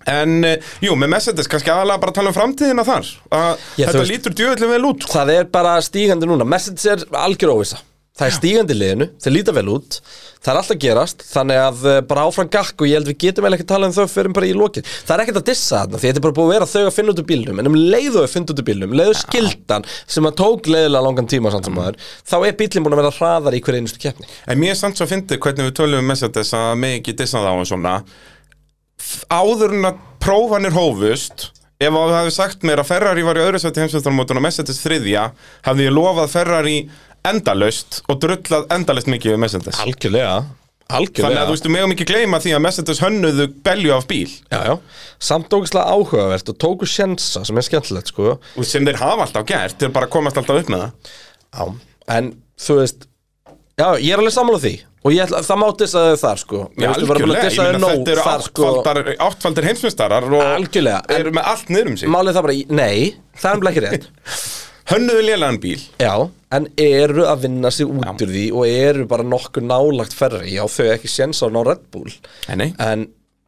B: En eh, jú, með Mercedes kannski aðalega bara að tala um framtíðina þar að
A: Já, þú
B: Þetta
A: veist-
B: lítur djöðlega vel út sko.
A: Það er bara stígandi núna Message er algjör óvisa Það er stígandi í liðinu, þeir líta vel út Það er alltaf gerast, þannig að eh, bara áfram gakk og ég held við getum eiginlega ekki að tala um þau fyrir bara í lokin Það er ekkert að dissa þarna, því þetta er bara búið að vera þau að finna út úr bílnum en um leiðu að finna út úr bílnum, um leiðu skildan sem að tók leiðilega langan tíma
B: Mm.
A: samt sem maður þá er bílinn búin að vera hraðar í hverju einustu keppni
B: En mér er samt svo fyndið hvernig við tölum um Mercedes að mig ekki dissa þá en svona F- Áður en að prófanir hófust Ef að það hefði sagt mér að Ferrari var í öðru sætti heimsveistarmótun og Mercedes þriðja hefði ég lofað Ferrari endalaust og drullað endalaust mikið við Mercedes
A: Algjörlega, algjörlega
B: Þannig að þú veistu, megum ekki gleyma því að Mercedes hönnuðu belju af bíl
A: Já, já, samt ógæslega áhugavert og tóku sjensa sem er skemmtilegt sko
B: og sem þeir hafa alltaf gert, þeir bara komast alltaf upp með það
A: Já, en þú veist Já, ég er alveg sammála því Og ég, ætla- það má dissa þau þar sko Mér
B: Já,
A: finnst við bara búin að
B: algjörlega,
A: dissa þau
B: ég meina
A: nóg
B: þetta eru
A: þar, sko.
B: áttfaldar, áttfaldir heimsmyndstarar og
A: Algjörlega, en-
B: eru með allt niður um sig
A: Málið er það bara, nei, það er nefnilega ekki rétt
B: Hönnuðu lélegan bíl
A: Já, en eru að vinna sig út úr því og eru bara nokkuð nálagt ferri Já, þau ekki sjensa á ná Red Bull
B: Nei, nei.
A: En,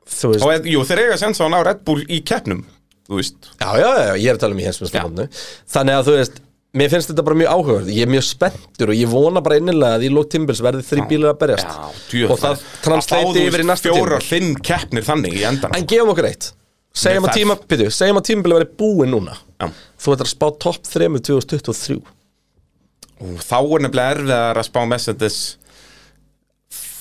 A: þú veist
B: og eð, jú, þeir eiga að sensa hann á Red Bull í keppnum þú veist
A: Já, já, já, já, ég er að tala um í hensmjöstamónu Þannig að þú veist, mér finnst þetta bara mjög áhugaverð Ég er mjög spenntur og ég vona bara innilega að í lók tímbils verði þrý bílar að berjast
B: djöfull.
A: Og það
B: Að fá,
A: translate
B: þú
A: yfir í
B: veist,
A: næsta tíma
B: fjórar fimm keppnir þannig í endan
A: En gefum okkur eitt Segjum
B: Nei,
A: að
B: það-
A: tíma, byrju, segjum að tímabili verið búið núna
B: Já.
A: Þú ætlar að spá topp 3 2023
B: og þá er nefnilega erfiðar að spá Mercedes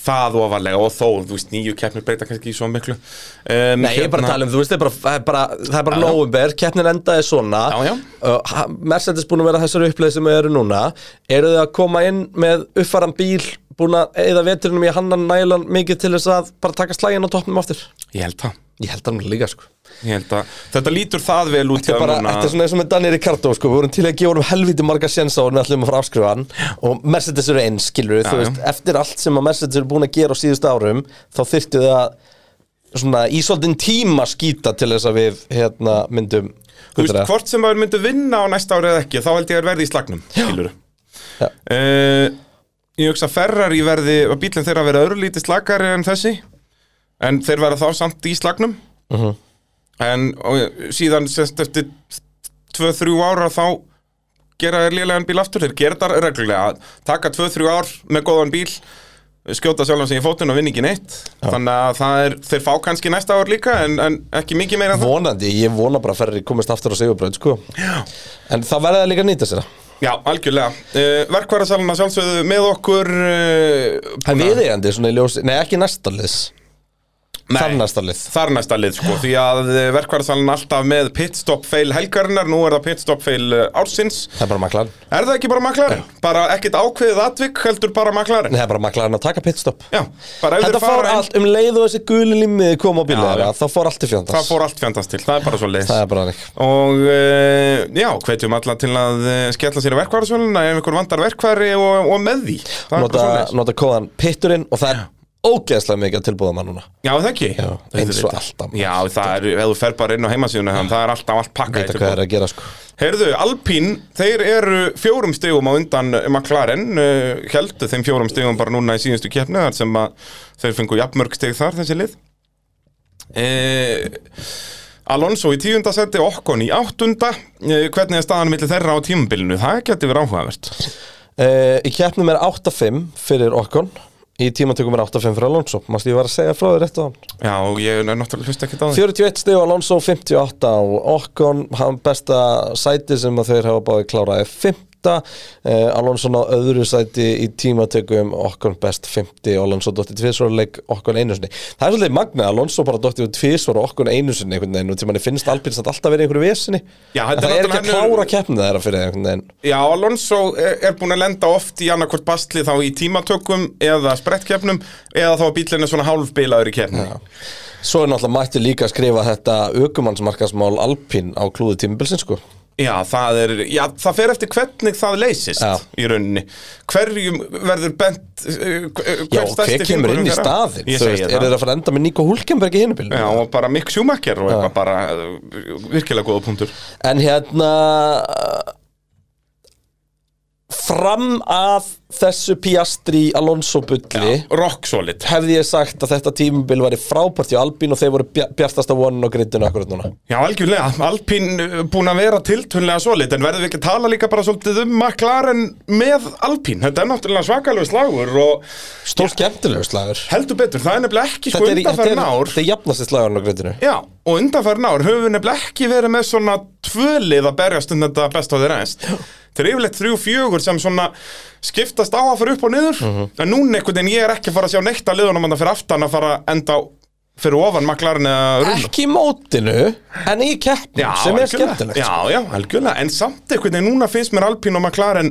B: það ofarlega og þó, þú veist, nýju keppnir breyta kannski í svo miklu um, hérna,
A: Nei, ég er bara að tala um, þú veist, það er bara, það er bara, það er bara
B: Já, já.
A: nóvember, keppnin endaði svona
B: Já, já.
A: Uh, ha- Mercedes búin að vera þessari uppleið sem við eru núna Eru þið að koma inn með uppfaran bíl Búin að eða veturinnum í hannan nælan mikið til þess að bara taka slægin á toppnum aftur
B: Ég held það
A: Ég held það nú líka, sko
B: Ég held að þetta lítur það vel út
A: Þetta er
B: hjá
A: bara,
B: núna.
A: þetta er svona eins og með Danny Ricardo sko, við vorum til að gefa honum helviti marga sjensa og við ætlum að fara að afskrifa hann og Mercedes eru eins, skilur við,
B: Já,
A: þú
B: já.
A: veist eftir allt sem að Mercedes eru búin að gera á síðustu árum þá þyrftu þau að svona í svolítinn tíma skýta til þess að við hérna myndum
B: Þú veist,
A: gullræða.
B: hvort sem maður myndi vinna á næsta ári eða ekki þá held ég að þeir verði í slagnum, skilur
A: Já.
B: uh, Ég hugsa að Ferrari verði, að bílinn þeirra verði örlítið slagari en þessi en þeir verða þá samt í slagnum en og, síðan sest, eftir 2-3 ára þá gera þeir lélegan bíl aftur, þeir gera það reglulega taka 2-3 ár með góðan bíl skjóta sjálfan sig í fótinn og vinna ekki neitt þannig að það er, þeir fá kannski næsta ár líka en, en ekki mikið meira en það
A: vonandi, ég vona bara að Ferrari komist aftur á sigurbröð sko. en það verða líka að nýta sér það.
B: Já, algjörlega. Uh, Verkværasalina sjálfsögðu með okkur uh,
A: en við eigandi svona í ljósi, nei ekki næsta liðs þar næsta lið
B: Þar næsta lið, sko, því að verkværasalina alltaf með pitstop fail helgarinnar, nú er það pitstop fail eh, ársins.
A: það er bara maklarinn,
B: Er það ekki bara maklarinn? Bara ekkit ákveðið atvik, heldur bara maklarinn?
A: Nei, það er bara maklarinn að taka pitstop
B: Já, bara ef
A: Þetta
B: þeir
A: fór
B: fara inn,
A: allt, um leið og þessi guli limmiði kom á bílið
B: Já,
A: þeirra,
B: já.
A: þá fór allt í fjandans
B: það fór allt fjandast til, það er bara svo leiðis.
A: Það er bara þannig
B: Og uh, já, hvetjum alla til að uh, skella sér í verkværasalina ef ykkur vantar verkværi og, og með því. Það er
A: nota,
B: bara svo leiðis.
A: nota kóðan pitturinn og það er ógeðslega mikið að tilbúða maður núna
B: Já, það ekki
A: Já, eins og alltaf, maður.
B: Já, það er, ef þú fer bara inn á heimasíðuna þann, það er alltaf allt pakka
A: Þetta hvað er að gera sko
B: Heyrðu, Alpín, þeir eru fjórum stegum á undan McLaren uh, heldu þeim fjórum stegum bara núna í síðustu keppni þar sem að þeir fengu jafnmörg steg þar, þessi lið uh, Alonso í tíunda seti, Okkon í áttunda uh, hvernig er staðan milli þeirra á tímabilinu? Það geti verið áhugavert
A: uh, Í keppnum er 8-5 fyrir okkon Í tímatökum er 8-5 fyrir Alonso Mást ég var að segja frá þér rétt á hann
B: Já, og ég er náttúrulega hlust ekki á því
A: 41 stig á Alonso, 58 á okkon Hann besta sæti sem að þeir hafa báði klárað er 5 Uh, Alonso ná öðru sæti í tímatökum okkon best 50 Alonso dotti tvisvarleik okkon einu sinni það er svolítið magna, Alonso bara dotti tvisvar og okkon einu sinni einhvern veginn og til manni finnst Alpins að alltaf verið einhverju vesinni
B: Já,
A: En
B: þetta
A: það er
B: er
A: ekki að
B: náttúrulega önnur-
A: klára keppnið þeirra fyrir einhvern veginn
B: Já, Alonso er, er búin að lenda oft í annarkvort bastli þá í tímatökum eða sprettkeppnum eða þá að bílinn er svona hálfbilaður í keppni
A: Svo er náttúrulega mætti líka að skrifa þetta aukumannsmarkasmál Alpín á klúðu tímabilsin sko
B: Já, það er, já, það fer eftir hvernig það leysist
A: Já.
B: í rauninni Hverjum verður bent eh, hver
A: Já, og
B: stærsti
A: hver kemur
B: fingurinn
A: inn í
B: þeirra?
A: staðinn
B: Ég
A: Þú
B: segi
A: veist,
B: það
A: er þeir að fara að enda með Nico Hulkenberg í hinubílum
B: Já, og bara Mick Schumacher og eitthvað bara
A: hérna,
B: eh, virkilega góða punktur
A: En hérna fram að þessu Piastri Alonso bulli
B: Rock solid
A: hefði ég sagt að þetta tímubil væri frábært í Albín og þeir voru bja- bjartasta vonin á grindinu akkurat núna
B: Já, algjörlega, Alpín uh, búin að vera tiltunlega svolít en verðum við ekki að tala líka bara svolítið um McLaren með Alpín þetta er náttúrulega svakalegu slagur og
A: Stór skemmtilegur slagur
B: heldur betur, það er nefnilega ekki sko
A: Þetta er, þetta er,
B: undanfærin ár
A: þetta er jafnast í slagurinn á grindinu
B: Já, og undanfærin ár höfum við nefnilega ekki verið með svona tvölið að berjast um þetta best á þeir ennst Þeir eru yfirleitt þrjú fjögur sem svona skiptast á að fara upp og niður
A: Mhm.
B: en núna einhvern veginn ég er ekki að fara að sjá neitt að liðunum að fyrir aftan að fara að enda á- fyrir ofan McLaren eða Rulla
A: Ekki í mótinu, en í keppnum sem er
B: algjörlega.
A: skemmtilegt
B: Já, já, algjörlega, en samt einhvern veginn núna finnst mér Alpín og McLaren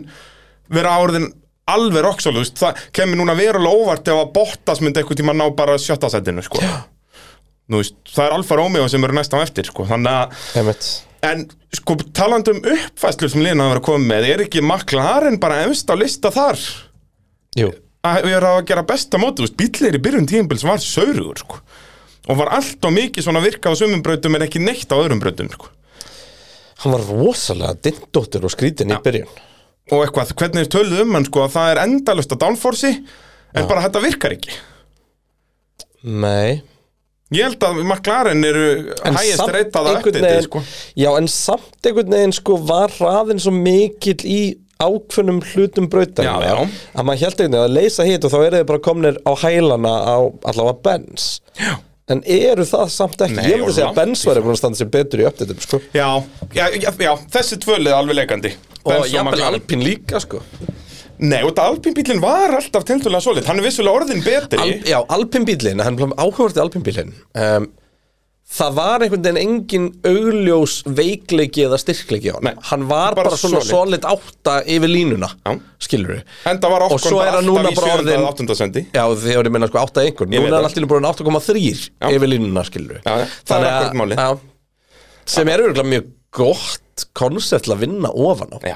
B: vera áriðin alveg roksólu, það kemur núna verulega óvart ef að Bottas myndi einhvern tíma ná bara sjötta setinu, sko Nú, veist, það er Alfa Romeo sem eru næstan á eftir, sko þannig að,
A: Einmitt.
B: en sko talandi um uppfæslu sem liðin að vera komið með, er ekki McLaren bara efst á lista þar
A: Jú
B: að við erum að gera besta móti, þú veist, bíllir í byrjun tíðinbíl sem var saurugur, sko og var allt og mikið svona virka á sumum brautum en ekki neitt á öðrum brautum, sko
A: Hann var rosalega dindóttur og skrítin í byrjun
B: og eitthvað, hvernig er töluð um hann sko að það er endalust að downforce en bara þetta virkar ekki
A: Nei
B: ég held að McLaren eru hægist reytað
A: einhvern
B: að update
A: veginn
B: sko.
A: Já, en samt einhvern veginn sko var hraðin svo mikill í ákvönum hlutum brautarinnar
B: Já, já.
A: að maður held einhvern veginn að leysa hitt og þá eru þið bara komnir á hælana á allavega Benz já. en eru það samt ekki
B: Nei,
A: ég
B: og
A: myndi segja
B: langt
A: að Benz væri búin að standa sér betur í uppdættum sko.
B: já, já, já, já, þessi tvölið alveg leikandi Benz
A: og jafnvel
B: McLaren.
A: Alpín líka sko.
B: Nei, og þetta Alpine bílinn var alltaf tildulega solid Hann er vissulega orðin betri
A: Al, já, alpinbílinn, hann blóðum áhugvart í alpinbílinn um, Það var einhvern veginn engin augljós veikleiki eða styrkleiki á hann
B: Nei,
A: Hann var
B: bara
A: bara, svona solid átta yfir línuna
B: Já.
A: Skilur við
B: En það var
A: Og
B: okkur
A: svo er
B: bara
A: hann núna
B: alltaf í
A: bara
B: 7.
A: orðin
B: eða 8. sendi
A: Já, því voru ég meina sko átta einhvern
B: Ég veit
A: Núna er
B: það.
A: allt í einu bara 8,3
B: Já.
A: yfir línuna skilur við
B: Já, já, það er akkurat málið.
A: já, Sem er auðvitað mjög gott konsept til að vinna ofan á
B: Já,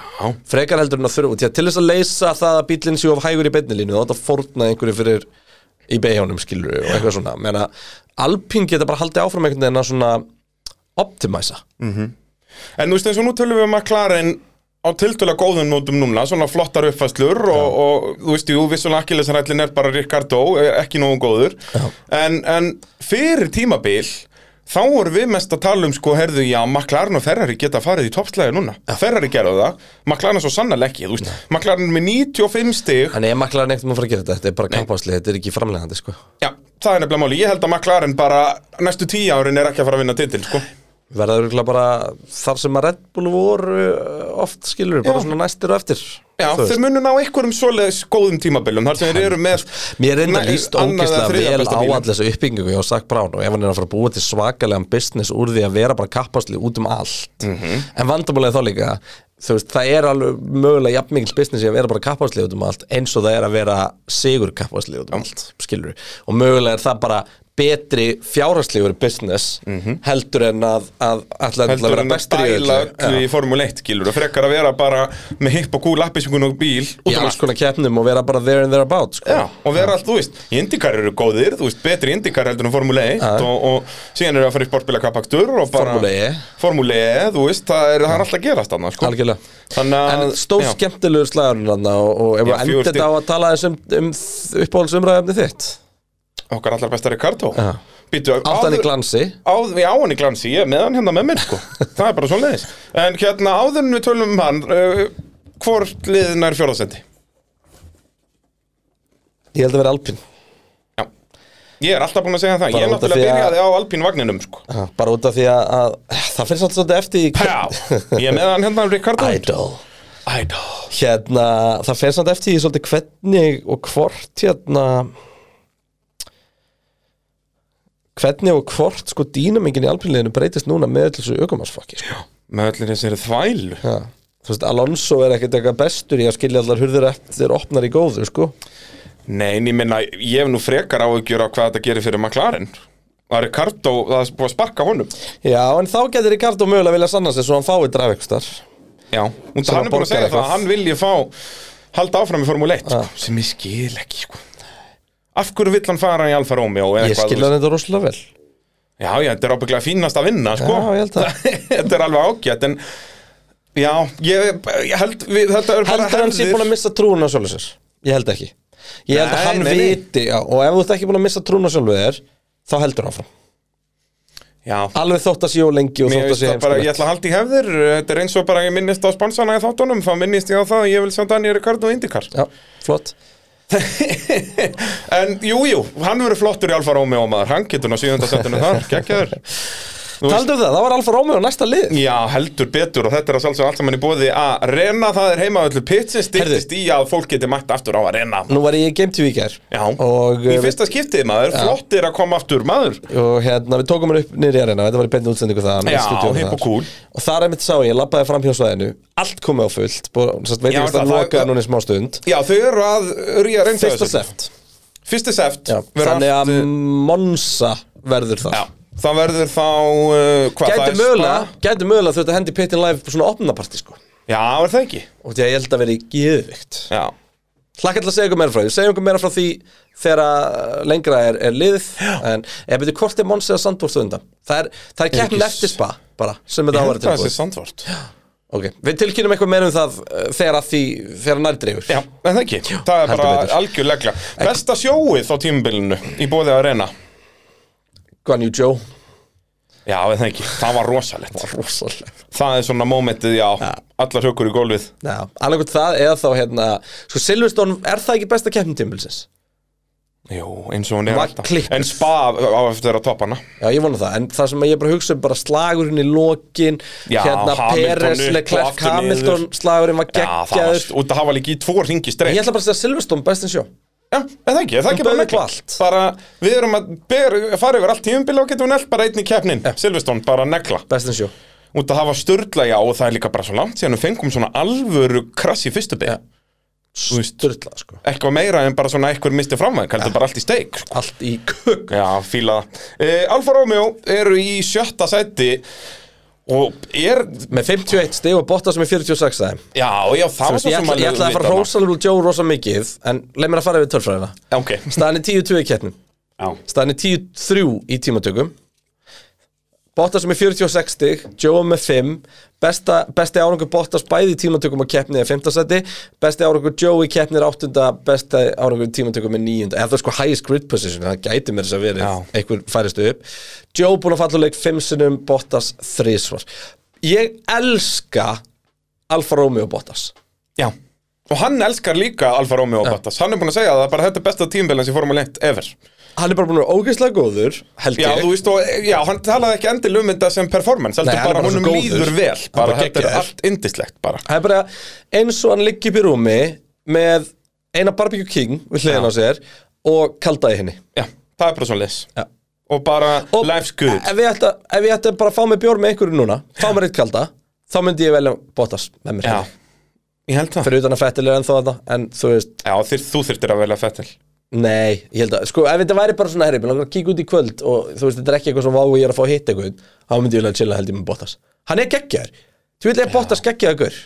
A: frekar heldur en að þurfa til, til þess að leysa það að bílinn séu of hægur í beinilínu þá þetta fórna einhverju fyrir í beigjónum skilur og eitthvað svona Meina, Alpín geta bara haldið áfram einhvern veginn að svona optimæsa
B: Mm. en þú veist eins og nú tölum við um McLaren á tildulega góðum nótum núna Svona flottar uppfæslur og, og þú veist, jú, vissulega akkilesrætlinn er bara Ricardo er Ekki nógu góður en, en fyrir tímabil Þá vorum við mest að tala um sko, herðu, já, McLaren og Ferrari geta farið í toppslæði núna. Ferrari gerðu það, McLaren svo sannarlega ekki, þú veist. McLaren er með 95 stig
A: en ég maklar neitt um að fara að gera þetta, þetta er bara kampasli þetta er ekki framlegandi sko
B: Já, það er nefnilega máli. Ég held að McLaren bara næstu tíu árin er ekki að fara að vinna titil, sko.
A: verða auðvitað bara þar sem að Red Bull voru uh, oft skilur, bara
B: Já.
A: svona næstir og eftir
B: Já,
A: Þú
B: þeir
A: veist.
B: munu ná einhverjum svoleiðis góðum tímabilum þar sem þeir eru með
A: Mér reynda
B: Nei,
A: líst
B: annað eða
A: ógeðslega
B: þriðja
A: vel
B: besta
A: á
B: bílinn.
A: allir þessu uppbyggingu hjá Zach Brown og ef hann er að fara að búa til svakalegan business úr því að vera bara kappasli út um allt
B: Mhm.
A: en vandamálið þá líka þú veist, það er alveg mögulega jafn mikil business í að vera bara kappasli út um allt eins og það er að vera sigur kappasli út um allt skilur og mögulega er það bara betri fjárhagslegur business heldur en að, að ætla að
B: Mhm. heldur
A: vera
B: en að
A: bestur í
B: dæla
A: öllu.
B: öllu í Formule 1, gilur, og frekar að vera bara með hipp og gúl appisjókun og bíl út
A: í
B: um
A: alls
B: allt.
A: konar keppnum og vera bara there and thereabout sko.
B: Já, og vera allt, þú veist, indikar eru góðir, þú veist, betri indikar heldur en Formule 1 og, og síðan eru að fara í sportbíla kapaktur og bara...
A: Formúlu E.
B: Formule E, þú veist, það er, það er alltaf að gerast þarna, sko.
A: algjörlega
B: Þannig að...
A: En stór
B: já.
A: skemmtilegur slagurinn hann og, og ef
B: Já,
A: við endur
B: fjögur stig.
A: þetta á að tala þessum um uppáhaldsumræðumni þitt
B: Okkar allar besta Ricardo.
A: Já.
B: Býtu,
A: Áttan í
B: áður-
A: glansi
B: á, ég á hann í glansi, ég er með hann hérna með mér sko. það er bara svo leiðis en hérna áður en við tölum um hann uh, hvort liðin er fjórðasendi
A: Ég held að vera Alpín
B: já, ég er alltaf búin að segja það
A: Bara
B: ég
A: út af
B: náttúrulega
A: því að-
B: byrjaði á alpínvagninum sko.
A: Bara út af því að, að eh, það finnst alltaf svolítið eftir í
B: já, ég er með hann hérna Ricardo
A: Idol
B: Idol
A: Hérna, það finnst alltaf eftir í svolítið hvernig og hvort hérna hvernig og hvort sko dýnamingin í Alpínliðinu breytist núna með öll þessu aukumarsfokki sko.
B: með allir þessari þvælu
A: Já. Þú veist, Alonso er ekkert eitthvað bestur í að skilja allar hurður eftir opnar í góðu sko
B: Nei, en ég minna, ég hef nú frekar áhugjur á hvað þetta gerir fyrir McLaren að Ricardo, það er búið að sparka honum
A: Já, en þá getur Ricardo mögulega vilja sanna sig svo hann fái draf ykkur starf
B: já, hún,
A: Sem að
B: hann er búin að
A: borgar
B: segja það
A: eitthvað.
B: að hann vilji fá halda áfram í Formule 1 sko, sem ég skil ekki sko. af hverju vill hann fara í Alfa Romeo eða
A: Ég
B: eitthvað, þú
A: skilja hann þetta rosalega vel
B: Já, já, þetta er ábygglega fínast að vinna, sko
A: Já, ég held að.
B: Þetta er alveg ágætt, en Já, ég, ég held við, Þetta er bara
A: Heldur hann sé búin að missa trúna sjálfur sér? Ég held ekki Ég held
B: Nei,
A: að hann
B: nei, nei.
A: viti já, Og ef þú ert ekki búin að missa trúna sjálfur þér Þá heldur hann áfram
B: Já,
A: Alveg þótt að sé og lengi og þótt að
B: Mér
A: sko.
B: veist
A: sé
B: það bara, ég
A: heimskulegt
B: ætla að halda í hefðir Þetta er eins og bara ég minnist á sponsana í þáttunum Þá minnist ég á það að ég vil sjá Daniel Ricardo og Indikar
A: Já, flott
B: En jú, jú, hann verður flottur í Alfa Romeo maður Hann getur ná sjöndasendinu þar, geggjaður Þú veist-
A: Taldu um það, það var Alfa Romeo næsta lið
B: Já, heldur betur og þetta er að sjálfsög allt saman í bóði að reyna það er heima öllu pitsin styrtist í að fólk geti mætt aftur á að reyna
A: Nú var ég í Game TV í gær
B: Já,
A: og,
B: í
A: eh,
B: fyrsta skiptið maður, flott er að koma aftur maður
A: og hérna, við tókum hann upp niður í arena Þetta var í beinni útsendingu það
B: Já, hipp og kúl.
A: Og þar er mitt sá ég, labbaði fram hjá svæðinu Allt komið á fullt búið- sem sagt, Veit
B: Já,
A: ekki að það
B: það-
A: lokaði
B: það-
A: núna í smá stund
B: Já, þau eru að rýja reynda
A: Fyrsta seft
B: Fyrsta seft
A: Já,
B: verður
A: Þannig
B: allt,
A: að Monsa verður það
B: Já, það verður þá uh, hvað það
A: Gæti
B: er
A: mögulega,
B: spa?
A: gæti mögulega þurft að hendi Pittin Live svona opnaparti sko
B: Já, er það ekki?
A: og því að ég held að vera í geðvikt
B: Já
A: Hlakka til að segja ykkur meira frá því, segja ykkur meira frá því þegar að lengra er, er liðið en ég byrju hvort er Mons eða Sandvort undan það er, það er keppn
B: ekki-
A: eftir spa bara, sem þetta
B: Ég
A: áværi
B: held að það sé
A: tilbúið
B: sandvort Já,
A: okay. Við tilkynum eitthvað meira um það uh, þegar að því, þegar að nærdreigur
B: en það ekki Það er
A: heldur
B: bara
A: betur.
B: algjörlegla Besta sjóið á tímubilinu í bóði að reyna
A: Guan Yu Joe,
B: Já, en það ekki, það var rosalegt
A: rosalega
B: Það er svona mómentið, já, allar hökur í gólfið
A: Alveg hvort það eða þá hérna Sko Silverstone, er það ekki besta keppn tímbilsins?
B: Jú, eins og hún er
A: Var
B: alltaf
A: klipp.
B: En spa á eftir að toppa hana
A: Já, ég vona það, en það sem ég bara hugsa um bara slagurinn í lokin
B: Já,
A: hérna
B: Hamilton
A: Peres,
B: upp og
A: Leclerc,
B: aftur
A: Hamilton
B: niður.
A: slagurinn var
B: Já, það var,
A: geggjaður
B: st- og það var líka í tvo ringi
A: Ég
B: streik
A: ætla bara að segja Silverstone, bestin sjó
B: Já, en það ekki, er það ekki
A: Hún
B: bara
A: bauð upp
B: negla
A: á allt.
B: Bara, við erum að ber, fara yfir allt tímubil og getum nelt bara einn í keppnin Silveston, bara negla
A: bestin sjó
B: Út að hafa störla, já, og það er líka bara svo langt síðan við fengum svona alvöru krass í fyrstu bygg veist.
A: Sturla, sko
B: Eitthvað meira en bara svona eitthvað misti framvæg heldur bara allt í steik sko.
A: Allt í kuk
B: Já, fíla það e, Alfa Romeo eru í sjötta sæti og er,
A: Með 51 stig og Bottas með 46 aðeim
B: já, já, það var svo
A: Ég
B: sem
A: ætla, ég ætla að fara rosalega Joe rosa mikið En leið mér að fara yfir tölfræðina
B: Já, ok,
A: Staðan er 10-2 í kettnum
B: já,
A: Staðan er 10-3 í tímatökum Bottas með 46 stig Joe með 5 Besta, Besti árangur Bottas bæði í tímatökum og keppni er 5. seti Besti árangur Joe í keppni er 8. Besti árangur í tímatökum er 9. Eða það er sko highest grid position Það gæti mér þess að vera
B: Já.
A: einhver færistu upp Joe búin að falla úr leik 5 sinum Bottas 3 svar Ég elska Alfa Romeo Bottas
B: já Og hann elskar líka Alfa Romeo og Bottas Hann er búin að segja að það er bara þetta er besta tímubilans í Formule 1 ever
A: Hann er bara búin að vera ógeðslega góður held
B: Já,
A: ég
B: þú veist, og, já, hann talaði ekki endil um þetta sem performance, heldur
A: Nei, hann er
B: bara
A: bara svo
B: honum
A: góður.
B: líður vel,
A: Hann
B: bara
A: bara
B: þetta er
A: geggjaður.
B: allt indislegt bara.
A: Það er bara eins og hann liggi upp í rúmi með eina barbecue king við hliðin á sér og kalda í henni
B: Já, það er bara svona les.
A: Já.
B: Og bara
A: og
B: life's good.
A: Ef ég ætti ef ég ætti bara að fá mig bjór með einhverju núna fá mér eitt kalda, þá myndi ég velja Bottas með mér
B: Já,
A: henni
B: ég held það.
A: fyrir utan að fettilega ennþá þetta en þú veist,
B: Já, þyr, þú þurftir að velja fettil.
A: nei, ég held að sko, ef þetta væri bara svona herri, mér langar að kíka út í kvöld og þú veist, þetta er ekki eitthvað sem váu ég er að fá að hitta einhvern þá myndi ég velja að chilla held ég með Bottas Hann er geggjar, þú vil ég Bottas geggjaður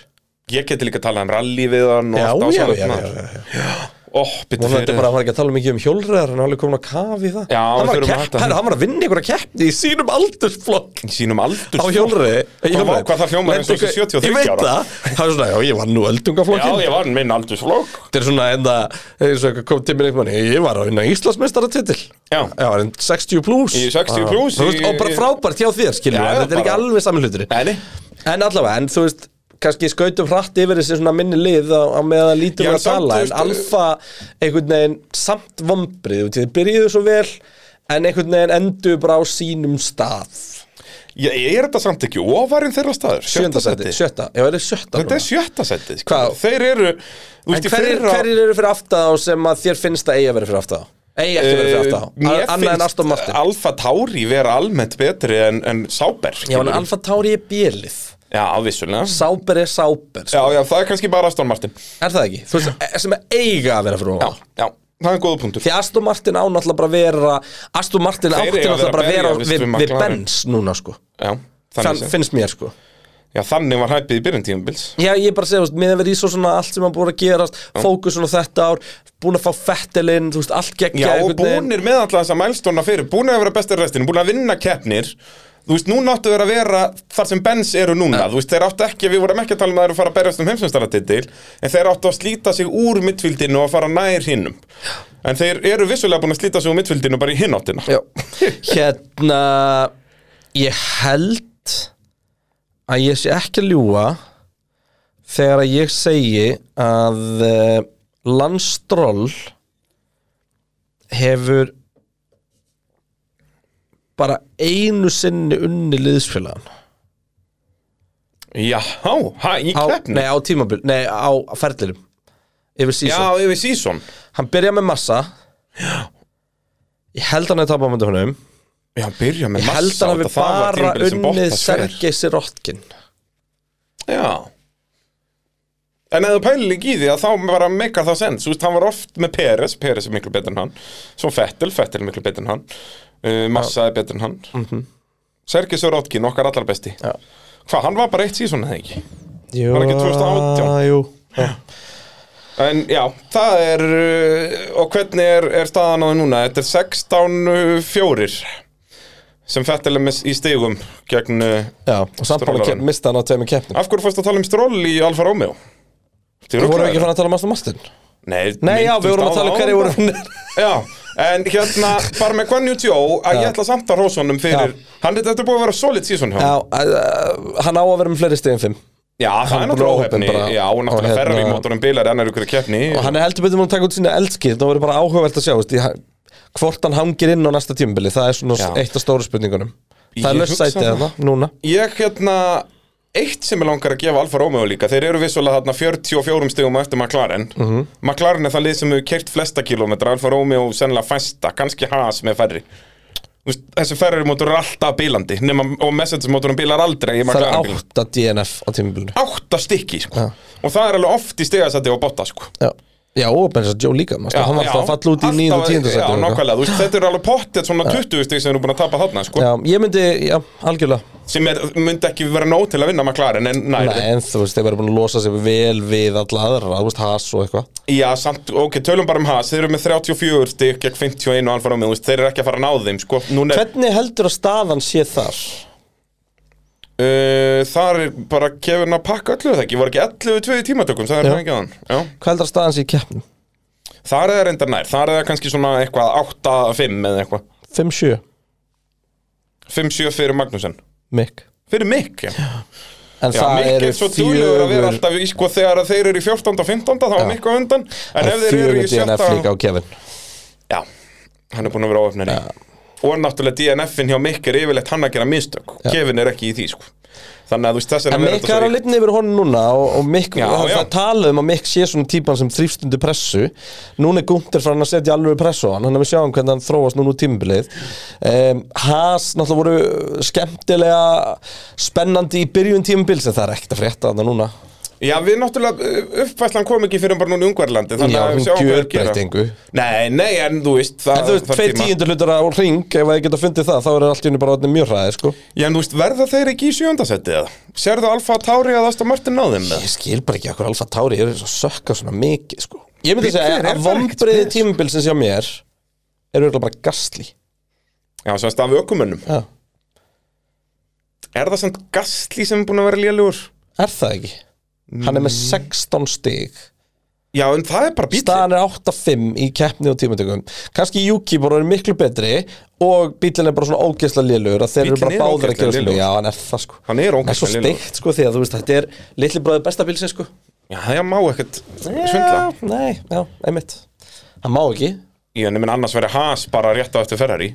B: Ég geti líka talað um rally við hann og
A: Já,
B: allt á
A: já,
B: svona.
A: já,
B: maður.
A: já, já, já.
B: Ó, bytti
A: Vonandi
B: fyrir.
A: bara að hann var ekki að tala mikið um hjólræðar Hann er alveg komin á kaf í það
B: Já,
A: hann, var að
B: þurfum að
A: kepp,
B: hætta því.
A: herra, hann var að vinna einhverja keppni í sínum aldursflokk
B: Í sínum aldur.
A: Á hjólræði
B: Hvað-
A: hjólreiði.
B: hvað það hljómaði eins og
A: Lendi-
B: sé 73
A: Ég veit
B: ára.
A: það Það er svona, já, ég var nú
B: Já,
A: öldungaflokkin
B: ég var minn aldursflokk.
A: Þetta er svona enda eins og kom til mér einhvern veginn Ég var að vinna Íslandsmeistaratitil
B: Já.
A: Já, en 60 plus
B: Í 60 plús í-
A: Ah. veist, Og bara frábært hjá þér, skilur
B: Já,
A: við en
B: já,
A: Þetta er ekki
B: bara-
A: alveg saman hluturinn
B: Nei, nei.
A: En allavega, en þú veist kannski skautum hratt yfir þessi svona minni lið á, á meðan það lítur
B: Já,
A: um að
B: samt,
A: tala
B: þú
A: en
B: veist, uh,
A: alfa einhvern veginn samt vombrið því þið byrjuðu svo vel en einhvern veginn endur bara á sínum stað
B: Ég, ég er þetta samt ekki ofarinn þeirra staður.
A: sjötta seti, sjötta, já, er það sjötta
B: Þetta er
A: núna?
B: sjötta setið.
A: Hvað?
B: Þeir eru, þú
A: en hverjir hverjir eru fyrir aftað á sem að þér finnst að eiga verið fyrir aftað á eiga ekki verið fyrir aftað á
B: Eh, Mér
A: A- annað en Aston
B: finnst
A: Martin
B: Alfa Tauri vera almennt betri en, en Sáber
A: já, en Alfa Tauri er bjelið
B: Já, vissulega
A: Sáber er Sáber, sko.
B: Já, já, það er kannski bara Aston Martin
A: er það ekki? þú veist, sem eiga að vera fyrir
B: Já,
A: ofan á.
B: já, það er góða punktur
A: Því Aston Martin á náttúrulega bara að vera Aston Martin
B: Þeir
A: átti
B: eiga að
A: náttúrulega bara að
B: vera að
A: vera
B: berja,
A: við,
B: við
A: við
B: McLaren.
A: Benz núna sko
B: Já,
A: Þann,
B: þannig, Þann,
A: finnst mér sko
B: já, þannig var hæpið í byrjun tímubils
A: Já, ég er bara að segja, þú veist, miðan verið í svo svona allt sem hann búið að gerast Fókusun á þetta ár, búin að fá fettilinn, þú veist, allt geggja
B: Já, og
A: einhvern veginn.
B: búnir með alltaf þessa mælstóna fyrir Búnir að vera bestir restin, búnir að vinna keppnir þú veist, núna áttu þeir að vera þar sem Benz eru núna, þú veist, þeir áttu ekki við vorum ekki að tala um að þeir eru að fara að berjast um heimsumstaratitil en þeir áttu að slíta sig úr mittfildinu og að fara nær hinnum en þeir eru vissulega búin að slíta sig úr mittfildinu bara í hináttina
A: Já. Hérna Ég held að ég sé ekki að ljúga þegar að ég segi að uh, landstról hefur bara einu sinni unni liðsfélagann
B: Já, hæ, í
A: á,
B: keppni
A: nei, á tímabil, nei, á ferðlirum yfir
B: Já,
A: sísón
B: yfir sísón
A: hann byrja með massa ég held hann að tapa á myndi honum
B: Já, byrja með
A: ég
B: massa
A: held hann að við
B: þetta, það var
A: bara
B: tímabilið sem
A: unnið
B: Bottas fer.
A: Sergei Sirotkin
B: Já En ef þú pælir ekki í því að þá bara meikar það sens Þú veist, hann var oft með Peres, Peres er miklu betur en hann Svo Fettel, Fettel er miklu betur en hann uh, Massa er betur en hann mm -hmm. Sergi Sörotkin, okkar allar besti
A: Mhm. Já.
B: Hvað, hann var bara eitt sísón eða ekki
A: Jú,
B: Var ekki 2018?
A: jú.
B: En já, það er uh, Og hvernig er, er staðan á því núna? Þetta er 16-4 Sem Fettel er með í stigum Gegn uh,
A: Já, og samt bara
B: Strollarinn.
A: ke- mista hann á tveimur keppnum
B: Af hverju fórstu að tala um stról í Alfa Romeo? Þú
A: Við vorum ekki fann að tala um Aston Martin
B: Nei,
A: Nei, já, við
B: minntust
A: vorum
B: á
A: að tala um
B: það
A: hverju
B: áðan.
A: voru
B: Já, en hérna, bara með Guanyu Tjó að ég ætla samt að rósa honum fyrir
A: Já.
B: hann er þetta er búið að vera solid season hjá
A: Já,
B: honum.
A: uh, hann á að vera með fleiri stegin fimm
B: Já,
A: hann
B: það er
A: er
B: náttúrulega
A: bara óheppinn
B: óhefni
A: bara.
B: Já, og
A: Og
B: náttúrulega
A: hérna-
B: ferrar í mótorum bílar en er ykkur keppni
A: Og hann er heldur betur múin að taka út sína eldskið Það verður bara áhugavert að sjá veist, ég, Hvort hann hangir inn á næsta tímbili Það er svona
B: Já.
A: eitt af stóru spurningunum Það
B: Ég
A: er löst
B: hugsa
A: sætið
B: það.
A: þarna, núna
B: Ég hérna, eitt sem ég langar að gefa Alfa Romeo líka, þeir eru vissulega þarna 44 stigum á eftir McLaren
A: Mhm.
B: McLaren er það lið sem hefur keirt flesta kilometra Alfa Romeo sennilega fæsta, kannski Haas með ferri Þú veist, Þessi ferri mótor er alltaf bílandi nema, og message mótorum bílar aldrei
A: Það
B: í McLaren
A: er
B: bílum
A: átta DNF á tímbilinu
B: átta stykki sko. og það er alveg oft í stegasætti og botta sko.
A: Já, já og Benz Joe líka manstu, Hann var alltaf að falla út í
B: alltaf-
A: 9. og 10.
B: já,
A: sæti
B: nákvæmlega, þú veist, þetta er alveg pottið svona 20 stík sem eru búin að tapa þarna sko.
A: Já, ég myndi, já, algjörlega
B: sem er, myndi ekki vera nóg til að vinna McLaren en nær,
A: Nei, en þú veist, þeir verður búin að losa sig vel við alla aðra, þú veist, has og eitthvað
B: já, samt, ok, tölum bara um Haas þeir eru með 34 stík, gegn 51 og Alfa Romeo þú veist, þeir eru ekki að fara að ná þeim sko. Núna er,
A: Hvernig heldur að staðan sé þar?
B: uh, þar er bara kefin að pakka öllu það ekki, voru ekki 11-2 í tímatökum það er
A: Já.
B: það ekki að hann
A: Hvað heldur að staðan sé í keppnum?
B: þar er það reyndar nær, þar er það kannski svona eitthvað 8-5 eða eitthvað
A: 5-7,
B: 5-7 fyrir Magnussen,
A: mikk
B: fyrir Mick já.
A: En
B: Já,
A: það
B: Mikk er
A: eru
B: svo duglegur að vera
A: fjögur
B: alltaf í sko þegar að þeir eru í 14. og 15. þá er Mikk á undan en ef þeir eru í
A: fjögur
B: 17.
A: DNF líka á Kevin
B: Já, hann er búin að vera áöfnari og náttúrulega DNF-in hjá Mikk er yfirleitt hann að gera mistök Kevin er ekki í því sko þannig að þú veist þess
A: En
B: vegna verður
A: Mikk er að
B: þetta svo í-
A: litna yfir honum núna og, og Mikk,
B: Já,
A: það,
B: já.
A: það tala um að Mikk sé svona típan sem þrýfst undir pressu Núna er Gunther frá hann að setja alveg pressu á hann Þannig að við sjáum hvernig hann þróast núna úr tímbilið um, Haas náttúrulega voru skemmtilega spennandi í byrjun tímbil sem það er ekkert að frétta þannig núna
B: Já, við náttúrulega, uh, uppfæslan kom ekki fyrir bara núna í Ungverlandi þannig
A: Já,
B: að
A: hún
B: sjáum hvað þeir gera.
A: gjörbreytingu
B: Nei, nei, en þú veist það
A: En þú veist,
B: þarf
A: tveir
B: tíma.
A: tíundur hlutur á ring Ef það geta fundið það, þá er allt í henni bara orðnir mjög hraði sko.
B: Já, en þú veist, verða þeir ekki í sjöndasetti eða? Serðu Alfa Tauri að Aston Martin náðum með?
A: Ég skil bara ekki okkur Alfa Tauri eru svo sökka svona mikið sko. Ég myndi
B: Við
A: segja
B: hver er
A: að
B: bara ekkert
A: vombriði
B: spes.
A: tímabilsins hjá mér eru örugglega bara gasli
B: Já, semst af ökumönnum
A: Já.
B: Er það samt Gastli sem er búin að vera lélugur?
A: Er það ekki? Hann er með 16 stig
B: Já, en það er bara bíl
A: Staðan er 8-5 í keppni og tímatökum Kanski Juki bara er miklu betri og bílinn er bara svona ógeðslega lélugur að þeir eru
B: Bíllinn
A: bara
B: er
A: báðir að
B: ógeðslega
A: gera svona
B: lélegur.
A: Já, hann er það sko
B: Hann er
A: Það er svo
B: ógæslega lélugur
A: steikt sko því að þú veist þetta er litli bróðið besta bílsins sko
B: Já, það má ekkert svindla
A: Já, Nei, já, einmitt Hann má ekki
B: Í henni minn annars verið Haas bara rétt á eftir Ferrari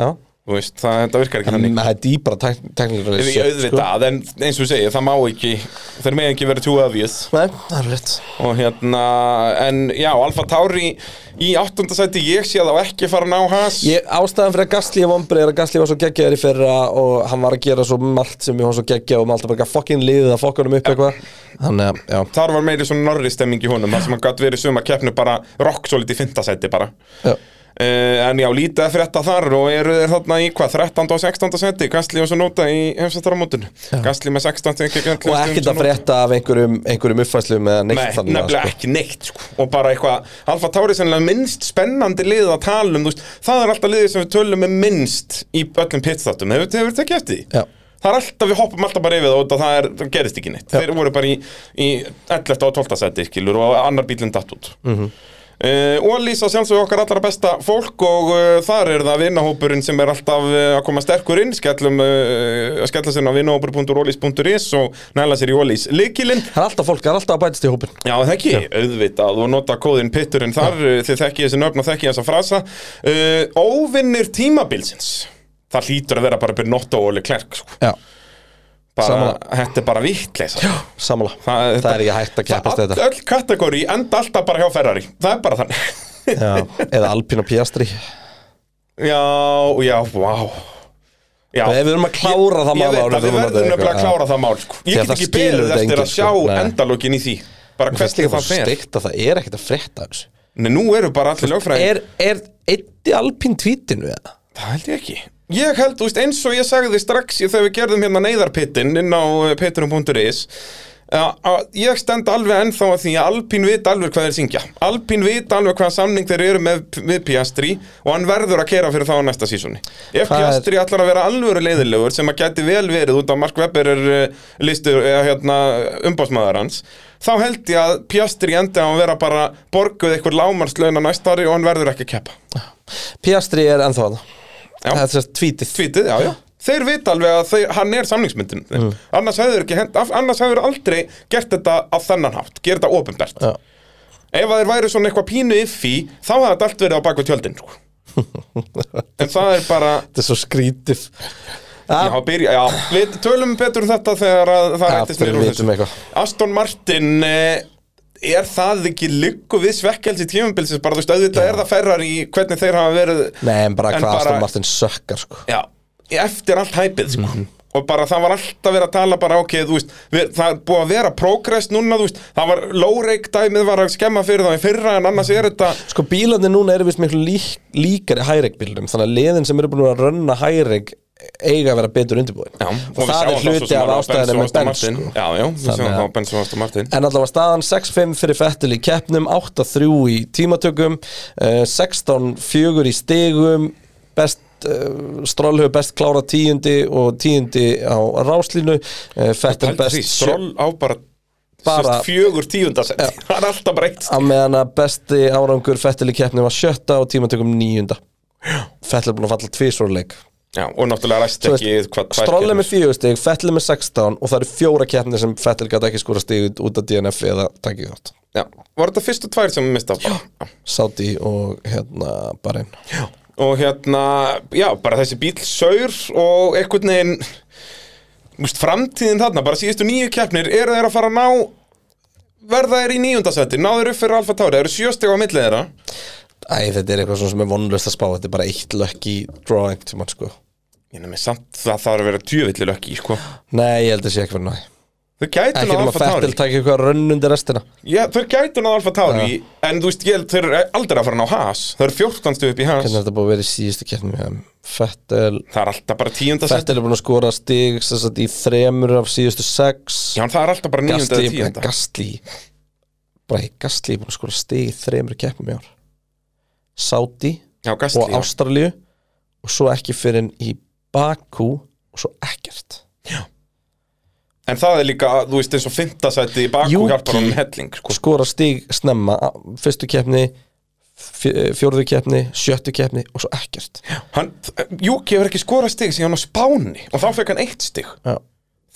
A: Já
B: Þú veist, það, það virkar ekki
A: Þannig
B: þannig
A: að þetta er bara teknilega
B: Ég auðvitað, en eins og ég segi, það má ekki Þeir með ekki vera too obvious
A: Nei, það er rétt
B: Og hérna, en já, Alfa Tauri í áttundasæti Ég sé þá ekki fara að ná Haas
A: Ég, ástæðan fyrir að Gasly er vombrið er að Gasly var svo geggjaður í fyrra og hann var að gera svo margt sem ég var svo geggjað og maður alltaf bara eitthvað fucking liðið að fokka honum upp eitthvað Þannig að, já,
B: Þar var meiri svona norri stemming í honum þar sem hann gætt verið suma keppnu bara rock svolítið í fintasæti bara
A: já.
B: Uh, en já, lítið að frétta þar og eru þeir þarna í hvað, 13. og 16. seti Gastli og svo nota í hefstættaramótinu Gastli með 16. ekki
A: Og ekkert að frétta af einhverjum, einhverjum uppfæslum eða
B: Nei,
A: neitt þannig
B: nefnilega
A: sko.
B: ekki neitt sko. og bara eitthvað, Alfa Tauri er sennilega minnst spennandi lið að tala um, þú veist, það er alltaf liðið sem við tölum með minnst í öllum pitstáttum, hefur hefur þetta ekki eftir því?
A: Já.
B: Það er alltaf, við hoppum alltaf bara yfir það og það, er, það gerist ekki neitt, þeir voru bara í, í 11. og 12. seti, skilur, og annar bílinn datt út mm
A: Mhm.
B: -hmm. og lýsa sjálfsög okkar allra besta fólk og uh, þar er það vinnahópurinn sem er alltaf uh, að koma sterkur inn skellum, uh, skella sér inn á vinnahópur.ólís.is og næla sér í ólís likilinn
A: Það er alltaf fólk, það er alltaf að bætast í hópin
B: Já, það ekki, auðvitað og nota kóðin pitturinn þar uh, þið þekki þessi nöfn og þekki þessa frasa uh, Óvinnir tímabilsins Það hlýtur að vera bara Bernotto og Leclerc sko.
A: Já,
B: bara,
A: Sammála.
B: Þetta er bara vittleisa Já,
A: sammála Það er ekki hægt að keppast
B: það,
A: þetta
B: Öll kategóri enda alltaf bara hjá Ferrari Það er bara þannig
A: Já, eða Alpina Piastri
B: Já, já, vá Já.
A: Ef við erum að klára það mál
B: Ég veit
A: árið
B: að við
A: þú notar
B: verðum nefnilega
A: eitthvað.
B: að klára það mál sko.
A: Því að
B: Ég get
A: það
B: ekki
A: skilur
B: beðið
A: þetta
B: eftir að
A: enginn,
B: sjá
A: sko. Nei.
B: endalokin í því Bara
A: Mér finnst líka
B: hvernig
A: bara
B: það
A: svo
B: fer
A: steikt að það er ekkert að frétta af þessu.
B: Nei, nú eru bara allir lögfræðingar
A: Er, er eitt í Alpín tvítinu eða?
B: Það held ég ekki Ég held, þú veist, eins og ég sagði strax í- þegar við gerðum hérna neyðarpittin inn á eh, pittunum.is Ég stend alveg ennþá að því að Alpín vita alveg hvað þeir syngja Alpín vita alveg hvað samning þeir eru með, við Piastri og hann verður að kera fyrir þá á næsta sísoni Ef
A: Það er-
B: Piastri ætlar að vera alvöru leiðilegur sem að geti vel verið út af Mark Webber er eh, listur eða hérna umbásmaður hans þá held ég að Piastri endi á að vera bara borguð eitthvað lámarslauna næstari og hann verður ekki að keppa
A: Piastri er ennþá að
B: Já.
A: það er þess að tvítið
B: Tvítið, já, já Þeir vita alveg að þeir, hann er samningsmyndin mm. annars hefur ekki hent, af- annars hefur aldrei gert þetta á þennan hátt, gera þetta ofinbært
A: Já.
B: Ef að þeir væri svona eitthvað pínu yffi þá hefði þetta allt verið á bakvið tjöldin sko. En það er bara
A: Þetta er svo skrítið
B: Já,
A: Já,
B: byrja, já, við tölum betur um þetta þegar að það
A: Ah. Já,
B: rættist niður
A: við
B: úr
A: vitum
B: þessu.
A: eitthvað.
B: Aston Martin eh, er það ekki lykku við svekkelsi tímumbilsins bara þú veist, auðvitað er það ferrar í hvernig þeir hafa verið
A: Nei, en bara
B: En
A: hvað
B: bara-
A: Aston Martin sökkar sko.
B: Já, eftir allt hæpið sko.
A: Mhm.
B: og bara það var alltaf verið að tala bara ok, þú veist, við, það er búið að vera progress núna, þú veist, það var lóreik dæmið var að skemma fyrir það í fyrra en annars er þetta
A: Sko bílarnir núna eru vist miklu lík, líkari hæregbílum Þannig að liðin sem eru búin að rönna hæreg eiga að vera betur undirbúin
B: Já,
A: Og, það er hluti af ástæðinu með Benz sko.
B: Já, já, við
A: Þannig
B: sjáum
A: að-
B: það á Benz og Aston Martin
A: En allavega staðan 6-5 fyrir Fettil í keppnum 8-3 í tímatökum eh, 16-4 í stigum best uh, Stroll hefur best klára tíundi og tíundi á ráslínu uh, Fettil best sjö-
B: Stról á bara,
A: Bara-
B: bara fjögur tíundasett Það er alltaf breytt
A: á meðan að besti árangur Fettil í keppnum var sjötta og tímatökum níunda Fettil er búin að falla tvísvorleik
B: Já, og náttúrulega ræst ekki hvað tvær
A: Stroll er
B: kemur.
A: með fjögur stig, Fettil er með 16 og það eru fjóra keppnir sem Fettil gæti ekki skora stig út af DNF eða takið þátt
B: Já, var þetta fyrstu tvær sem mista Já, já
A: Saudi og hérna Bahrein
B: og hérna, já, bara þessi bíl saur og einhvern veginn múst, framtíðin þarna, bara síðustu nýju keppnir, eru þeir að fara að ná verða þeir í níundasetti, náður upp fyrir Alfa Tauri, það eru sjösteg á milli þeirra
A: Æ, þetta er eitthvað svona sem er vonlust að spá Þetta er bara eitt lökki draw einhvern tímann sko
B: ég nefnir samt það þarf að vera tjöfillir ekki, sko,
A: Nei, ég held að sé ekki fyrir næ
B: þau gætu
A: Ekki
B: náðu
A: um að
B: Alfa
A: Fettil
B: Tauri
A: taka eitthvað rönn undir restina
B: já, þau gætu náðu Alfa Tauri en þú veist, ég, held þeir eru aldrei að fara að ná Haas þau eru 14 stuð upp í Haas
A: Hvernig er þetta búið að vera í síðustu keppnum Fettil
B: það er alltaf bara tíundasetti
A: Fettil er búin að skora stig sem sagt, í þremur af síðustu sex
B: já, en það er alltaf bara níunda
A: Gastli,
B: eða tíunda
A: Gastli Bara Gastli er búin að skora stig í þremur keppnum í ár Saudi
B: já, Gastli,
A: og
B: já.
A: Ástralíu og svo ekki fyrir í Baku og svo ekkert
B: en það er líka, þú veist, eins og fymtasetti í baku
A: Yuki.
B: hjálpar honum helling, sko
A: skora stig snemma á fyrstu keppni fjö- fjórðu keppni, sjöttu keppni og svo ekkert
B: hann, Júki hefur ekki skorað stig síðan á Spáni og þá fekk hann eitt stig
A: Já.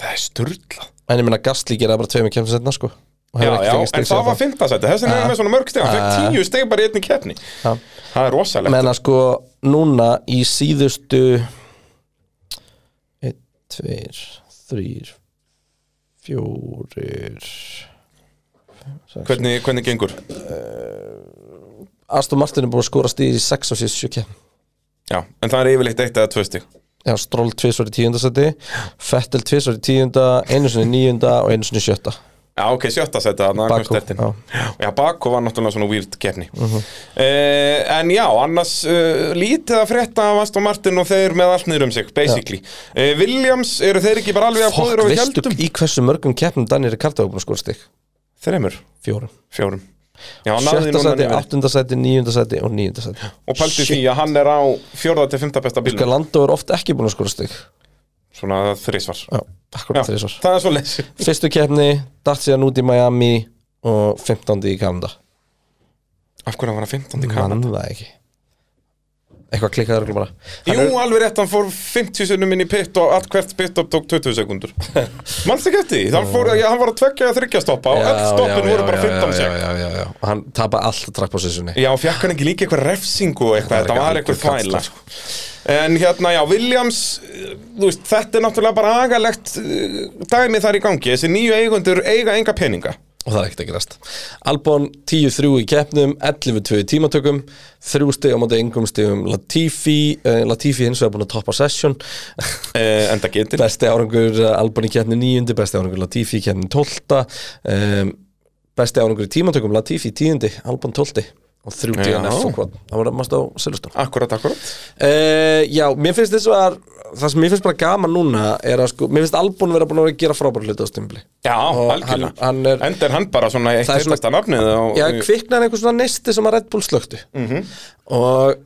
B: það er sturla
A: en ég meina Gastli gera bara tveimur keppni setna sko og
B: já,
A: hefur ekki
B: já,
A: fengið stig
B: en það
A: síðan
B: var fimmtasæti, þessi er hann með svona mörg stig hann
A: Ah.
B: fekk tíu stig bara í einni keppni
A: Já.
B: það er rosalegt
A: menna sko núna í síðustu 1, 2, 3 4
B: hvernig, hvernig gengur
A: Aston Martin er búin að skora stig í 6 og síðustu 7 keppni
B: já, en það er yfirleitt eitt eða tvö stig
A: Já, Stroll tvisvar í tíundasæti Fettel tvisvar í tíunda, einu sinni í níunda og einu sinni í sjötta
B: Já, ok, sjötta seti þarna
A: Bakú,
B: komst þetta inn.
A: já.
B: Já, Bakú var náttúrulega svona weird keppni Eh, En já, annars uh, lítið að frétta af Aston Martin og þeir með allt niður um sig, basically uh, Williams, eru þeir ekki bara alveg að
A: Fokk,
B: bóður og við
A: veistu
B: heldum?
A: í hversu mörgum keppnum Danir Ricardo er búin að skora stig?
B: Þreymur,
A: Fjórum
B: fjórum Já, hann náði
A: Sjötta
B: núna
A: sæti,
B: nýverið.
A: áttunda sæti, níunda sæti og níunda sæti
B: Og pælti
A: Shit,
B: því að hann er á fjórða til fymta besta
A: Sko,
B: bílum
A: Lando er oft ekki búin að skora stig
B: Svona þrísvar
A: Já, akkurat þrísvar
B: það er svo leys
A: Fyrstu keppni, dætt síðan út í Miami og 15. í Kanada
B: Af hverju var hann 15. kannan?
A: Mann það ekki Eitthvað klikkaður örugglega bara
B: Jú, alveg rétt, hann fór 50 sinnum inn í pit og allt hvert pit up tók 20 sekundur Manstu ekki eftir því? Hann, fór, já, hann var að tveggja að þryggja stoppa og öll stoppin voru bara 15
A: já,
B: sekund
A: já, já, já. Og hann tapa alltaf trapppositionni
B: Já, fekk hann ekki líka eitthvað refsingu og eitthvað,
A: Þetta
B: þetta
A: var
B: var
A: ekki
B: eitthvað þvæla sko.
A: algjör
B: En hérna, já, Williams eh, þú veist, þetta er náttúrulega bara agalegt eh, dæmi þar í gangi, þessi nýju eigundur eiga enga peninga
A: og það er ekkert að gerast Albon 10-3 í keppnum 11-2 í tímatökum 3 stig á móti engum stigum Latifi uh, Latifi hins vegar búin að toppa session
B: eh, Enda getur
A: besti árangur eh, Albon í keppni 9 besti árangur Latifi í keppni 12 um, besti árangur í tímatökum Latifi 10 Albon 12 og 3
B: Já.
A: DNF og hvað það var mest á Silveston
B: Akkurat, akkurat
A: Uh, já, mér finnst þess að það sem mér finnst bara gaman núna er að sko, mér finnst Albon vera búin að vera að gera frábæra hluti á stimpli
B: Já,
A: Og
B: algjörlega
A: hann- hann er-
B: Enda er hann bara svona eitt
A: Það er svona-
B: fyrstasta nafnið á,
A: Já, kviknar einhver svona nesti sem að Red Bull slöktu og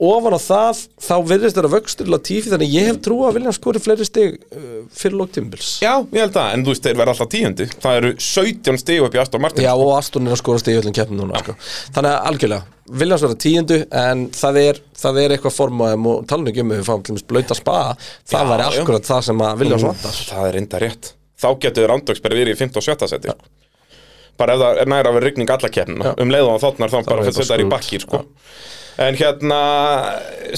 A: ofan á það þá virðist þeirra vöxtur Latifi þannig að ég hef trú að vilja skori fleiri stig uh, fyrir lók tímbils
B: Já, ég held að, en þú veist, þeir verða alltaf tíundi Það eru 17 stig upp í Aston Martin
A: Já, og Aston er að skora stig í öllum keppnum núna sko. þannig að algjörlega, Viljans vera tíundu en það er, það er eitthvað formaðum og talanum ekki um ef við fáum til dæmis blauta spa það
B: Já, Mm.
A: væri
B: já.
A: akkurat það sem að Viljans vantar
B: Það er enda rétt Þá getur þeir ándöksbæri verið í 15 og 17 seti sko. Bara ef það er næra að vera rigning alla keppnina Um leið og þáttnar þá bara
A: er bara
B: fyrir setja þær í
A: screwed.
B: bakkir sko. En hérna,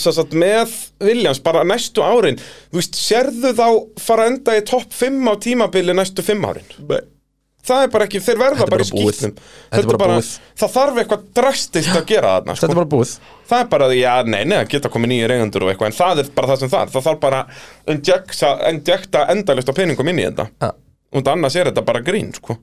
B: sem sagt, með Williams bara næstu árin Þú veist, sérðu þá fara að enda í topp 5 á tímabili næstu 5 árin?
A: Nei.
B: Það er bara ekki, þeir verða
A: er
B: bara í
A: bara búið.
B: skýtnum
A: Þetta er bara búið.
B: Það þarf eitthvað drastist að gera þarna sko.
A: Þetta er bara búið
B: Það er bara, já, nei, nei, það geta komið nýjir eigendur og eitthvað, en það er bara það sem það er. Það þarf bara að injekta, injekta endalist á peningum inn í þetta.
A: Ja.
B: Og annars er þetta bara grín, sko.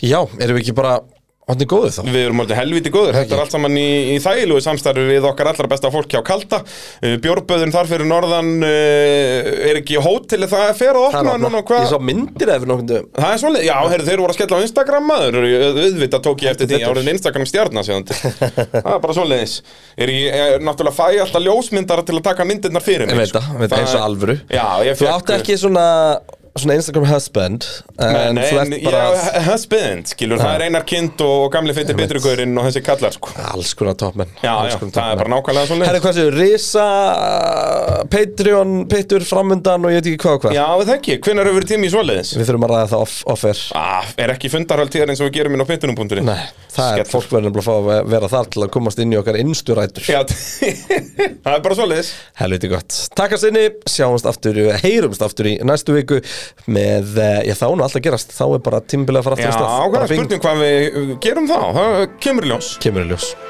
A: Já, erum við ekki bara hodni góðið þá?
B: Við erum alltaf helviti góður. Þetta er allt saman í, í þægilegu samstarfi við okkar allra besta fólki á Kalda. Uh, Bjórböðun þar fyrir norðan uh, er ekki hótelið það
A: Það
B: fer að
A: er
B: opna
A: opnað.
B: núna og hvað.
A: Ég sá myndir ef við nokkuð um
B: Það er svolítið, já, heyrðu, þeir voru að skella á Instagram maður, auðvitað tók ég eftir því
A: betur.
B: árið Instagram stjarnar síðan til. Það er bara svolítið Er ég, er, náttúrulega fæ ég alltaf ljósmyndara til að taka myndirnar fyrir mig.
A: Ég veit
B: sko.
A: það, ég veit það, eins og
B: er-
A: alvöru.
B: Já, ég
A: Þú átti ekki svona, svona Instagram husband
B: en,
A: En
B: nei,
A: þú
B: en,
A: ert bara
B: ég, husband, skilur, það er einar kind og, og gamli fytti bitrugurinn og þessi kallar, sko.
A: Alls konar topmenn
B: Já,
A: alls
B: já,
A: konar
B: það
A: topmenn.
B: er bara nákvæmlega svolítið.
A: Herðu hvað séu, Risa, Patreon, Pittur, framundan og ég veit ekki hvað og hvað
B: Já, það ekki, hvenær hefur verið tími í svolítið?
A: Við þurfum að ræða það off- off-air
B: Ah, er ekki fundarhald tíðar eins og við gerum inn á pittunum.ri?
A: Nei, það er,
B: Skellur.
A: fólk verður nefnilega að fá að vera þar til að komast inn í okkar innstu rætur
B: Já, það er bara svolítið.
A: Helviti gott. Takk að sinni, sjáumst aftur, eh, heyrumst aftur í næstu viku með, eh, já þá er nú alltaf gerast, þá er bara tímbilega að fara aftur
B: Já,
A: í stað.
B: hvað
A: Bara
B: er
A: bing,
B: spurning hvað við uh, gerum þá? Það kemur í ljós.
A: Kemur í ljós.